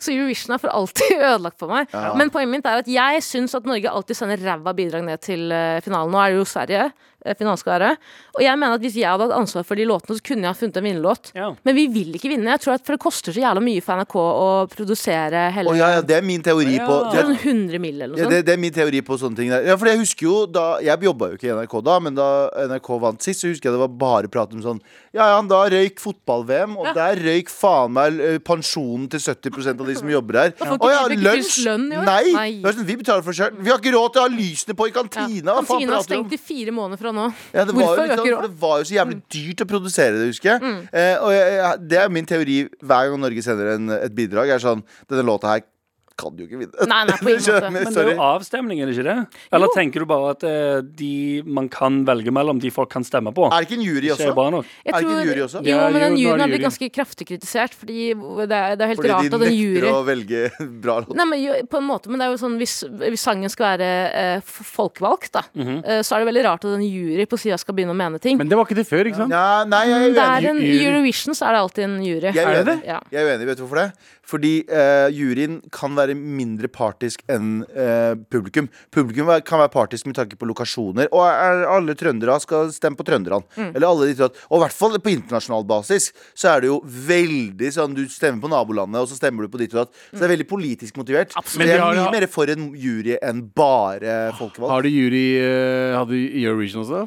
Speaker 5: Så Eurovision er for alltid ødelagt for meg. Men poenget mitt er at jeg syns at Norge alltid sender ræva bidrag ned til eh, finalen. Nå er det jo Sverige eh, finalen skal være. Og jeg mener at hvis jeg hadde hatt ansvar for de låtene, så kunne jeg ha funnet en vinnerlåt.
Speaker 6: Ja.
Speaker 5: Men vi vil ikke vinne. Jeg tror at For det koster så jævla mye for NRK å produsere
Speaker 2: Å
Speaker 5: hele
Speaker 2: ja, ja, det er min teori på
Speaker 5: Det er
Speaker 2: det,
Speaker 5: sånn 100 mill. eller
Speaker 2: ja,
Speaker 5: noe
Speaker 2: det,
Speaker 5: sånt.
Speaker 2: det er min teori på sånne ting der. Ja, for jeg husker jo da Jeg jobba jo ikke i NRK da, men da NRK vant sist, så husker jeg det var bare prat om sånn Ja ja, da røyk fotball-VM, og der røyk faen meg eh, pensjonen til 70 av de som jobber her.
Speaker 5: får ikke
Speaker 2: Å ja,
Speaker 5: vi- vi fikk ikke
Speaker 2: lunsj!
Speaker 5: lønn i år.
Speaker 2: Nei!
Speaker 5: Nei.
Speaker 2: Det er sånn, vi betaler for sjøl. Vi har ikke råd til å ha lysene på i
Speaker 5: Ja.
Speaker 2: kantina! Hva faen
Speaker 5: Kantina er
Speaker 2: prater du om?
Speaker 5: stengt i fire måneder fra nå.
Speaker 2: Ja, det var, jo
Speaker 5: Hvorfor
Speaker 2: litt,
Speaker 5: øker
Speaker 2: sånn,
Speaker 5: rådet?
Speaker 2: for det var jo så jævlig
Speaker 5: Mm.
Speaker 2: dyrt å produsere det, husker jeg. Eh, og jeg, jeg, det er min teori hver gang Norge sender en, et bidrag. Er sånn, Denne låta her kan jo ikke vinne.
Speaker 5: Nei, nei, på ingen måte.
Speaker 2: Skjønner,
Speaker 6: Men det er
Speaker 2: Sorry.
Speaker 6: jo avstemning, er det ikke det? Eller tenker du bare at eh, de man kan velge mellom, de folk kan stemme på,
Speaker 2: Er det ikke en jury
Speaker 6: ikke
Speaker 2: også?
Speaker 6: er bra nok?
Speaker 5: Jeg
Speaker 2: Er det ikke en
Speaker 5: tror-
Speaker 2: jury også?
Speaker 5: Jo,
Speaker 4: Ja,
Speaker 5: men den
Speaker 4: jo, nå
Speaker 5: juryen
Speaker 4: er det
Speaker 5: har blitt
Speaker 4: jury.
Speaker 5: ganske kraftig kritisert. Fordi det er, det er helt
Speaker 2: Fordi
Speaker 5: rart
Speaker 2: de
Speaker 5: at en
Speaker 2: nekter
Speaker 5: jury
Speaker 2: å velge bra låt.
Speaker 5: Nei, men jo, på en måte, men det er jo sånn Hvis, hvis sangen skal være eh, f- folkevalgt, da, eh, så er det veldig rart at en jury på sida skal begynne å mene ting. Men
Speaker 4: Mhm. Men det var ikke det før, ikke sant?
Speaker 2: Nei, nei, jeg er
Speaker 5: det er
Speaker 2: uenig.
Speaker 5: en,
Speaker 4: Jury.
Speaker 5: I Eurovision så er det alltid en jury.
Speaker 2: Jeg er, uenig.
Speaker 5: Ja.
Speaker 2: jeg er uenig, vet du hvorfor det? Fordi eh, juryen kan være mindre partisk enn eh, publikum. Publikum er- kan være partisk med tanke på lokasjoner. Og er, alle trøndere skal stemme på trønderne.
Speaker 4: Mm.
Speaker 2: Eller alle de trøt- Og i hvert fall på internasjonal basis så er det jo veldig sånn du stemmer på nabolandet, og så stemmer du på ditt og datt. Så det er veldig politisk motivert.
Speaker 4: Mm. Men
Speaker 2: Så jeg
Speaker 4: de
Speaker 2: er
Speaker 4: har-
Speaker 2: mye mer for en jury enn bare folkevalgt.
Speaker 4: Har de jury eh, Hadde de Eurovision også?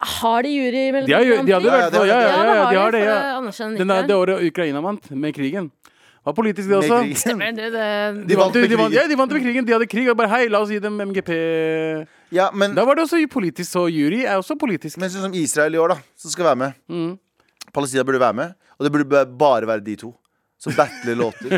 Speaker 5: Har de jury i Melodi
Speaker 4: De har, ju-
Speaker 5: Grand
Speaker 4: de hadde
Speaker 5: Prix?
Speaker 4: i hvert fall Ja, ja,
Speaker 5: Ja,
Speaker 4: ja,
Speaker 5: det har
Speaker 4: de har
Speaker 5: de,
Speaker 4: det.
Speaker 5: for
Speaker 4: Ja.
Speaker 5: det anerkjenner
Speaker 4: Den der,
Speaker 5: ikke.
Speaker 4: det året Ukraina vant, med krigen. Var politisk, det
Speaker 2: Med
Speaker 4: også.
Speaker 2: krigen.
Speaker 5: Men det, det,
Speaker 4: De vant,
Speaker 2: med
Speaker 4: de, vant,
Speaker 2: krigen.
Speaker 4: ja, de vant med krigen. De hadde krig. Og bare hei, la oss gi dem MGP.
Speaker 2: Ja, men
Speaker 4: Da var det også politisk, så jury er også politisk.
Speaker 2: Men sånn som Israel i år, da, som skal være med. Palestina burde være med, og det burde ba- bare være de to. Som battler låter.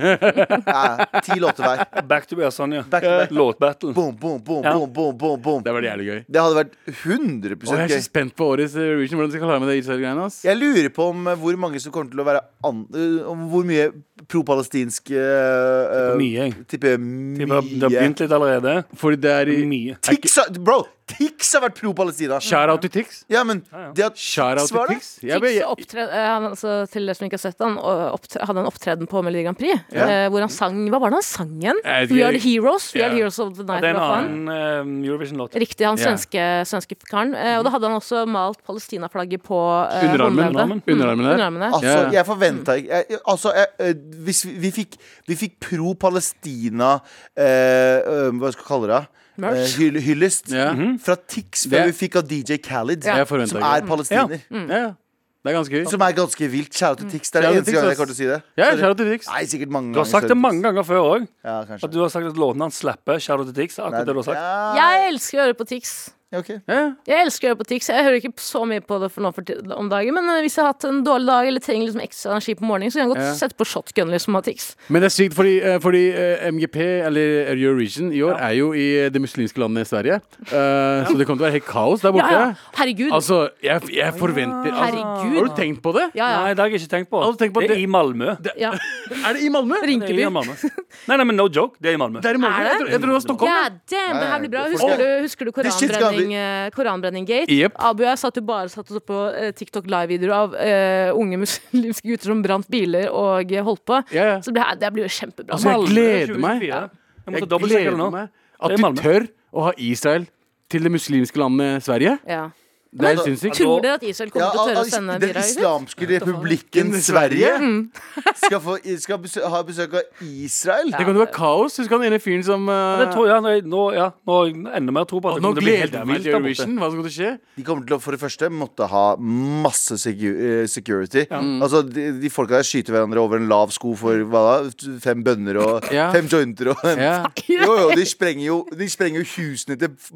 Speaker 2: ja, ti låter hver.
Speaker 6: Back to be sånn, ja.
Speaker 2: Back to back.
Speaker 6: Låtbattle.
Speaker 2: Boom, boom, boom,
Speaker 6: Ja.
Speaker 2: boom, boom, boom, boom.
Speaker 4: Det var jævlig gøy.
Speaker 2: Det hadde vært 100
Speaker 4: Og jeg er
Speaker 2: gøy.
Speaker 4: så spent på årets Eurovision. Hvordan de skal klare med det Israel-greiene. ass.
Speaker 2: Jeg lurer på om eh, hvor mange som kommer til å være an eh, Om hvor mye pro-palestinsk uh,
Speaker 6: Mye, jeg.
Speaker 2: Tipper
Speaker 6: De har, det har
Speaker 2: mye.
Speaker 6: begynt litt allerede.
Speaker 4: Fordi det er i
Speaker 6: Mye.
Speaker 2: Tix har, bro, Tix har vært pro-Palestina.
Speaker 4: Shout-out til Tix.
Speaker 2: Ja, men det at
Speaker 4: Shout-out
Speaker 2: Svar
Speaker 4: til
Speaker 2: det.
Speaker 4: Tix. Jeg ble- jeg-
Speaker 5: altså, til dere som ikke har sett han, og eh, opptre- hadde en opptreden på Melodi Grand Prix
Speaker 2: Ja.
Speaker 5: eh, hvor han sang Hva var det han sang igjen?
Speaker 4: Jeg vet
Speaker 5: We
Speaker 4: ikke.
Speaker 5: are the heroes. We are
Speaker 4: Eh, Ja.
Speaker 5: the heroes of the night.
Speaker 6: Det er en
Speaker 5: hva faen?
Speaker 6: annen eh, Eurovision-låt.
Speaker 5: Riktig, han
Speaker 4: Ja.
Speaker 5: svenske, svenske karen. Eh, og da hadde han også malt Palestina-flagget på eh,
Speaker 4: Underarmen.
Speaker 5: håndleddet.
Speaker 6: Underarmen.
Speaker 4: Underarmen der.
Speaker 5: Underarmene.
Speaker 2: Altså,
Speaker 4: Ja, ja.
Speaker 2: jeg forventa ikke jeg, Altså, jeg, eh, hvis vi, vi fikk Vi fikk pro Palestina eh, eh, Hva skal vi kalle det?
Speaker 5: Merch.
Speaker 2: Eh, hyll, hyllest Mhm.
Speaker 4: Ja.
Speaker 2: fra Tix før
Speaker 4: Det-
Speaker 2: vi fikk av DJ Khalid,
Speaker 4: Jeg forventet
Speaker 2: som
Speaker 4: ikke.
Speaker 2: er palestiner.
Speaker 4: Ja, ja. Det er ganske gøy.
Speaker 2: Som er ganske vilt. Shout
Speaker 5: Mm.
Speaker 2: out til Tix. Det er
Speaker 4: Shout out
Speaker 2: den
Speaker 4: til Tix,
Speaker 2: eneste
Speaker 4: ass.
Speaker 2: gangen jeg kommer til å si det.
Speaker 4: Ja,
Speaker 2: Sorry.
Speaker 4: shout-out til Tix.
Speaker 2: Nei, sikkert mange
Speaker 6: Du har sagt det mange ganger før òg.
Speaker 2: Ja,
Speaker 6: At
Speaker 2: kanskje.
Speaker 6: du har sagt at låten han slapper, Shadow to Tix. er Akkurat det du har sagt.
Speaker 2: Ja,
Speaker 5: Jeg elsker å høre på Tix.
Speaker 2: ok.
Speaker 4: Ja.
Speaker 5: Jeg elsker å høre på Tix. Jeg hører ikke så mye på det for nå for ti- om dagen, men eh, hvis jeg har hatt en dårlig dag eller trenger liksom ekstra energi på morgenen, så kan jeg godt
Speaker 4: Ja.
Speaker 5: sette på shotgun liksom av Tix.
Speaker 4: Men det er sykt, fordi, eh, fordi eh, MGP, eller Eurovision, i år er jo i eh, det muslimske landet Sverige. Eh, Så det kommer til å være helt kaos
Speaker 5: Ja,
Speaker 4: der borte.
Speaker 5: ja. Herregud.
Speaker 4: Altså, jeg, jeg forventer altså,
Speaker 5: Herregud.
Speaker 4: Har du tenkt på det?
Speaker 5: ja,
Speaker 6: Nei,
Speaker 5: ja.
Speaker 6: det har jeg ikke tenkt på.
Speaker 4: Har du tenkt på
Speaker 6: det er
Speaker 4: det-
Speaker 6: i Malmö.
Speaker 5: ja.
Speaker 4: Er det i Malmö?
Speaker 6: Det er i
Speaker 5: Rinkeby.
Speaker 6: Malmö. Nei, nei, men no joke. Det er i Malmö.
Speaker 4: Det er i Malmö.
Speaker 5: Er det?
Speaker 4: Jeg tror- Jeg tror det var Stockholm.
Speaker 5: God damn, det her blir bra.
Speaker 2: Nei,
Speaker 5: Husker
Speaker 2: folk-
Speaker 5: du, husker du
Speaker 2: This shit's gonna
Speaker 5: koranbrenning, eh, koranbrenning-gate?
Speaker 4: Jep.
Speaker 5: Abu og jeg satt jo bare satt oss opp på eh, TikTok live-videoer av eh, unge muslimske gutter som brant biler og eh, holdt på.
Speaker 4: Ja, ja.
Speaker 5: Så det, her- det her blir jo kjempebra.
Speaker 4: Altså, jeg
Speaker 6: Malmö
Speaker 4: gleder meg.
Speaker 6: 24. Jeg
Speaker 4: Jeg
Speaker 6: måtte dobbeltsjekke
Speaker 4: gleder
Speaker 6: det nå.
Speaker 4: meg
Speaker 6: Det
Speaker 4: at
Speaker 6: er
Speaker 4: de
Speaker 6: Malmö.
Speaker 4: tør å ha Israel til det muslimske landet Sverige.
Speaker 5: ja.
Speaker 4: Det er sinnssykt.
Speaker 5: Tror dere at Israel kommer
Speaker 2: Ja,
Speaker 5: til å tørre
Speaker 2: al-
Speaker 5: å sende
Speaker 2: den
Speaker 5: bidrag? ut? Mm.
Speaker 2: islamske republikken Sverige skal, få, skal besø ha besøk av Israel.
Speaker 4: Det kan jo være kaos. Husker han ene fyren som eh,
Speaker 6: Det tror jeg, nei, nå, ja, nå har jeg enda mer tro på at det
Speaker 4: Nå
Speaker 6: kommer til å bli helt
Speaker 4: gleder jeg meg
Speaker 6: vilt
Speaker 4: til
Speaker 6: der borte.
Speaker 4: Eurovision. Hva som kommer til å skje?
Speaker 2: De kommer til å for det første måtte ha masse secu eh, security.
Speaker 4: Mm.
Speaker 2: Altså, de, de folka der skyter hverandre over en lav sko for hva da? Fem bønner og
Speaker 4: Ja.
Speaker 2: fem jointer og
Speaker 4: Ja.
Speaker 2: Jo, jo, de sprenger jo, de sprenger jo husene til f-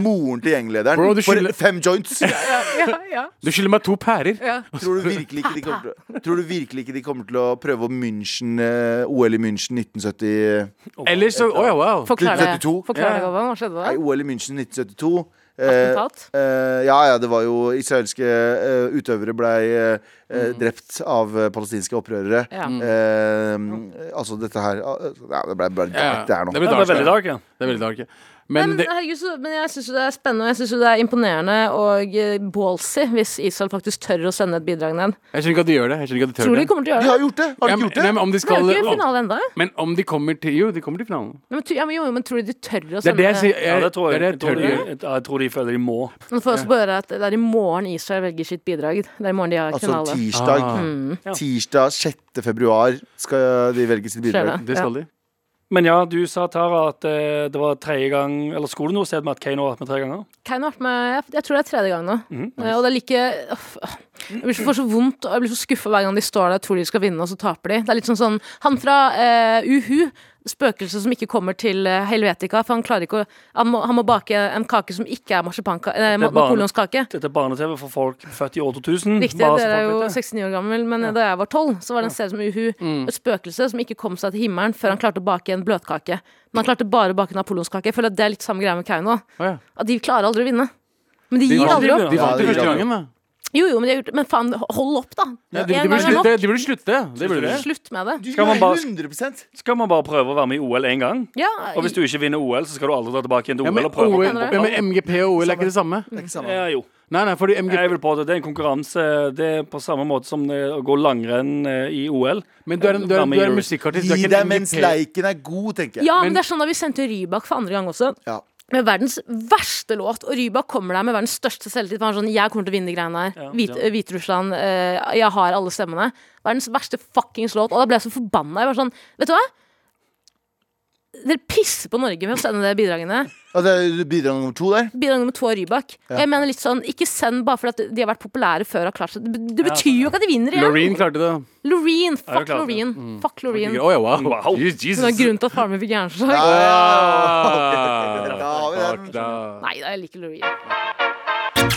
Speaker 2: moren til gjenglederen
Speaker 4: Bro, du
Speaker 2: for
Speaker 4: skylder-
Speaker 2: fem joints.
Speaker 5: Ja,
Speaker 4: Du skylder meg to pærer.
Speaker 2: Tror du virkelig ikke de kommer til, å- tror du virkelig ikke de kommer til å prøve å München, eh, OL i München 1970
Speaker 4: Ellers så Å ja, wow.
Speaker 5: Forklar det.
Speaker 2: 1972.
Speaker 5: Forklar det,
Speaker 4: Ja.
Speaker 5: Galvan. Hva skjedde da?
Speaker 2: Nei, OL i München 1972. Eh,
Speaker 5: Attentat?
Speaker 2: eh, ja, ja, det var jo israelske eh, utøvere blei eh, eh, drept av eh, palestinske opprørere.
Speaker 5: Ja.
Speaker 2: Eh, altså dette her ah, Ja, det blei bare
Speaker 4: Ja,
Speaker 2: dark, det her nå.
Speaker 4: blir
Speaker 6: Det ble veldig dark, ja.
Speaker 4: Det er veldig dark. ja.
Speaker 5: Nei,
Speaker 4: Men
Speaker 5: men, eh,
Speaker 4: det,
Speaker 5: herregud, så, men jeg syns jo det er spennende og jeg synes jo det er imponerende og eh, ballsy hvis Israel faktisk tør å sende et bidrag ned.
Speaker 4: jeg skjønner ikke at de gjør det. Jeg skjønner ikke at de tør
Speaker 5: Tror du
Speaker 4: det.
Speaker 5: de kommer til å
Speaker 2: De
Speaker 5: gjøre det?
Speaker 2: har gjort det! Har de
Speaker 4: Ja,
Speaker 2: ikke
Speaker 4: men-
Speaker 2: gjort
Speaker 4: nei,
Speaker 2: det?
Speaker 4: men om de
Speaker 5: Vi har
Speaker 4: skal
Speaker 5: jo ikke finale ennå.
Speaker 4: Men om de kommer til Jo, de kommer til finalen.
Speaker 5: Men, tro- ja, men jo, jo, men tror du de tør å
Speaker 4: Det er
Speaker 5: sende
Speaker 4: det jeg sier.
Speaker 6: Ja,
Speaker 4: Jeg,
Speaker 6: det tror jeg.
Speaker 4: det er det jeg
Speaker 6: Jeg
Speaker 4: tør
Speaker 6: tror,
Speaker 4: å gjøre.
Speaker 6: de, jeg tror de føler de må.
Speaker 5: Nå får jeg også bare høre at det er i morgen Israel velger sitt bidrag. Det er i morgen de har
Speaker 2: Altså
Speaker 5: finale. Mm,
Speaker 2: tirsdag
Speaker 4: Ah.
Speaker 2: Tirsdag 6. februar skal de velge sitt bidrag.
Speaker 5: Fredag.
Speaker 4: Det skal de.
Speaker 6: Men ja, du sa, Tara, at eh, det var tredje gang Eller skulle du noe sted med at Kane har vært med tre ganger?
Speaker 5: Kein har vært med jeg, jeg tror det er tredje gang nå.
Speaker 4: Mhm.
Speaker 5: Eh, Og det er like uff, ah. Jeg blir så, får så vondt og jeg blir så skuffa hver gang de står der og tror de skal vinne, og så taper de. Det er litt sånn sånn Han fra eh, Uhu, spøkelset som ikke kommer til eh, Helvetica, for han klarer ikke å han må, han må bake en kake som ikke er marsipankake, eh,
Speaker 6: er bare-
Speaker 5: napoleonskake.
Speaker 6: Dette er barne-TV for folk født i år 2000.
Speaker 5: Riktig,
Speaker 6: Bare så
Speaker 5: dere er
Speaker 6: folk
Speaker 5: jo
Speaker 6: vet det.
Speaker 5: 69 år gammel, men da jeg var 12, så var det en serie som Uhu. Et spøkelse som ikke kom seg til himmelen før han klarte å bake en bløtkake. Men han klarte bare å bake napoleonskake. Jeg føler at det er litt samme greia med Kauno.
Speaker 4: Å, ja.
Speaker 5: At de klarer aldri å vinne. Men de
Speaker 4: De
Speaker 5: gir
Speaker 4: vant-
Speaker 5: aldri opp.
Speaker 4: de vant jo
Speaker 2: Ja, de
Speaker 4: første
Speaker 2: gjør det.
Speaker 4: gangen, da.
Speaker 5: Jo, jo, men, de har gjort, men faen, hold opp, da.
Speaker 4: Ja, de, de,
Speaker 5: En gang
Speaker 4: burde
Speaker 5: er nok.
Speaker 4: slutte, de burde slutte. Det burde de.
Speaker 5: Slutt med det.
Speaker 2: Du
Speaker 6: Skal man
Speaker 2: gjør
Speaker 6: bare-
Speaker 2: 100
Speaker 6: Skal man bare prøve å være med i OL én gang?
Speaker 5: Ja,
Speaker 6: Og hvis du ikke vinner OL, så skal du aldri dra tilbake igjen til
Speaker 4: Ja,
Speaker 6: OL
Speaker 4: men,
Speaker 6: og prøve?
Speaker 4: OL,
Speaker 5: Hva mener du?
Speaker 4: ja, men MGP og OL er ikke det samme.
Speaker 2: Det er ikke samme.
Speaker 6: Ja, jo.
Speaker 4: Nei, nei, fordi
Speaker 6: Jeg
Speaker 4: MGP
Speaker 6: vil på det. det er en konkurranse. eh, Det er på samme måte som det å gå langrenn eh, i OL.
Speaker 4: Men du er en, du er, du er en musikkartist. Du er
Speaker 2: Gi
Speaker 4: ikke en
Speaker 2: deg mens
Speaker 4: MGP.
Speaker 2: leiken er god, tenker jeg.
Speaker 5: ja men
Speaker 4: Men-
Speaker 5: det er sånn da vi sendte Rybak for andre gang også.
Speaker 2: Ja.
Speaker 5: Med verdens verste låt, og Rybak kommer der med verdens største selvtillit. for Han er sånn, jeg kommer til å vinne de greiene her.
Speaker 6: Ja,
Speaker 5: Hvit,
Speaker 6: ja.
Speaker 5: Hviterussland, eh, jeg har alle stemmene. Verdens verste fuckings låt. Og da ble jeg så forbanna. Jeg var sånn, vet du hva? Dere pisser på Norge med å sende de bidragene.
Speaker 2: Og det er bidrag nummer to der.
Speaker 5: Bidrag nummer to av Rybak. Og jeg mener litt sånn, ikke send bare fordi at de har vært populære før og har klart seg. Det, det betyr jo ikke at de vinner igjen.
Speaker 4: Loreen klarte det.
Speaker 5: Loreen,
Speaker 6: Ja, det Mm.
Speaker 5: fuck
Speaker 6: klarte det.
Speaker 5: Loreen. Fuck Loreen.
Speaker 4: Å ja, wow.
Speaker 6: Wow.
Speaker 4: Jeez,
Speaker 5: Det var
Speaker 4: Jesus.
Speaker 5: grunnen til at faren min fikk hjerneslag.
Speaker 4: Ah,
Speaker 2: Da har vi den.
Speaker 4: fuck da.
Speaker 5: Nei, da, jeg liker Loreen.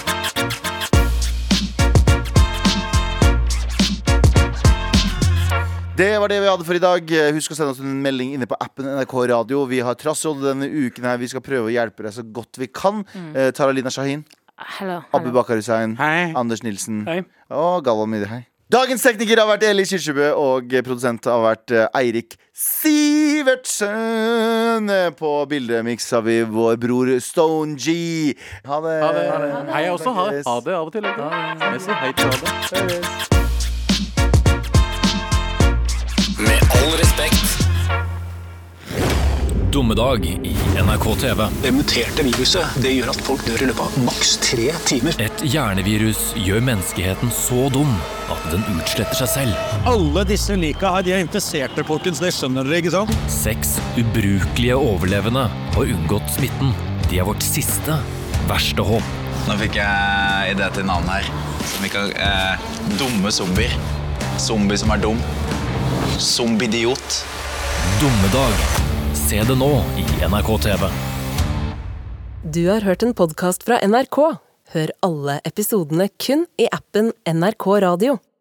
Speaker 2: Det var det vi hadde for i dag. Eh, Husk å sende oss en melding inne på appen NRK Radio. Vi har Trassråd denne uken her. Vi skal prøve å hjelpe deg så godt vi kan. Eh, Tara Lina Shahin,
Speaker 5: Hello,
Speaker 2: Abu
Speaker 5: hello.
Speaker 2: Bakar Hussein,
Speaker 4: Hei.
Speaker 2: Anders Nilsen
Speaker 6: Hei.
Speaker 2: og Galvan Myhre. Hei. Dagens tekniker har vært Eli Kirkebø, og produsent har vært eh, Eirik Sivertsen. På bildemiks har vi vår bror Stone G. Ha det.
Speaker 4: Ha det. Hei, jeg også. Ha det. Ha det av og til. ikke? Jeg sier Hei til ha det.
Speaker 8: Med all respekt.
Speaker 9: Dommedag i NRK TV.
Speaker 8: Det muterte viruset det gjør at folk dør i løpet av maks tre timer.
Speaker 9: Et hjernevirus gjør menneskeheten så dum at den utsletter seg selv.
Speaker 10: Alle disse unika her, de er infiserte, folkens. Det skjønner dere, ikke sant?
Speaker 9: Seks ubrukelige overlevende har unngått smitten. De er vårt siste, verste håp.
Speaker 11: Nå fikk jeg idé til navn her. Som vi kan eh, Dumme zombier. Zombie som er dum. Zombidiot.
Speaker 9: Dommedag. Se det nå i NRK TV.
Speaker 12: Du har hørt en podkast fra NRK. Hør alle episodene kun i appen NRK Radio.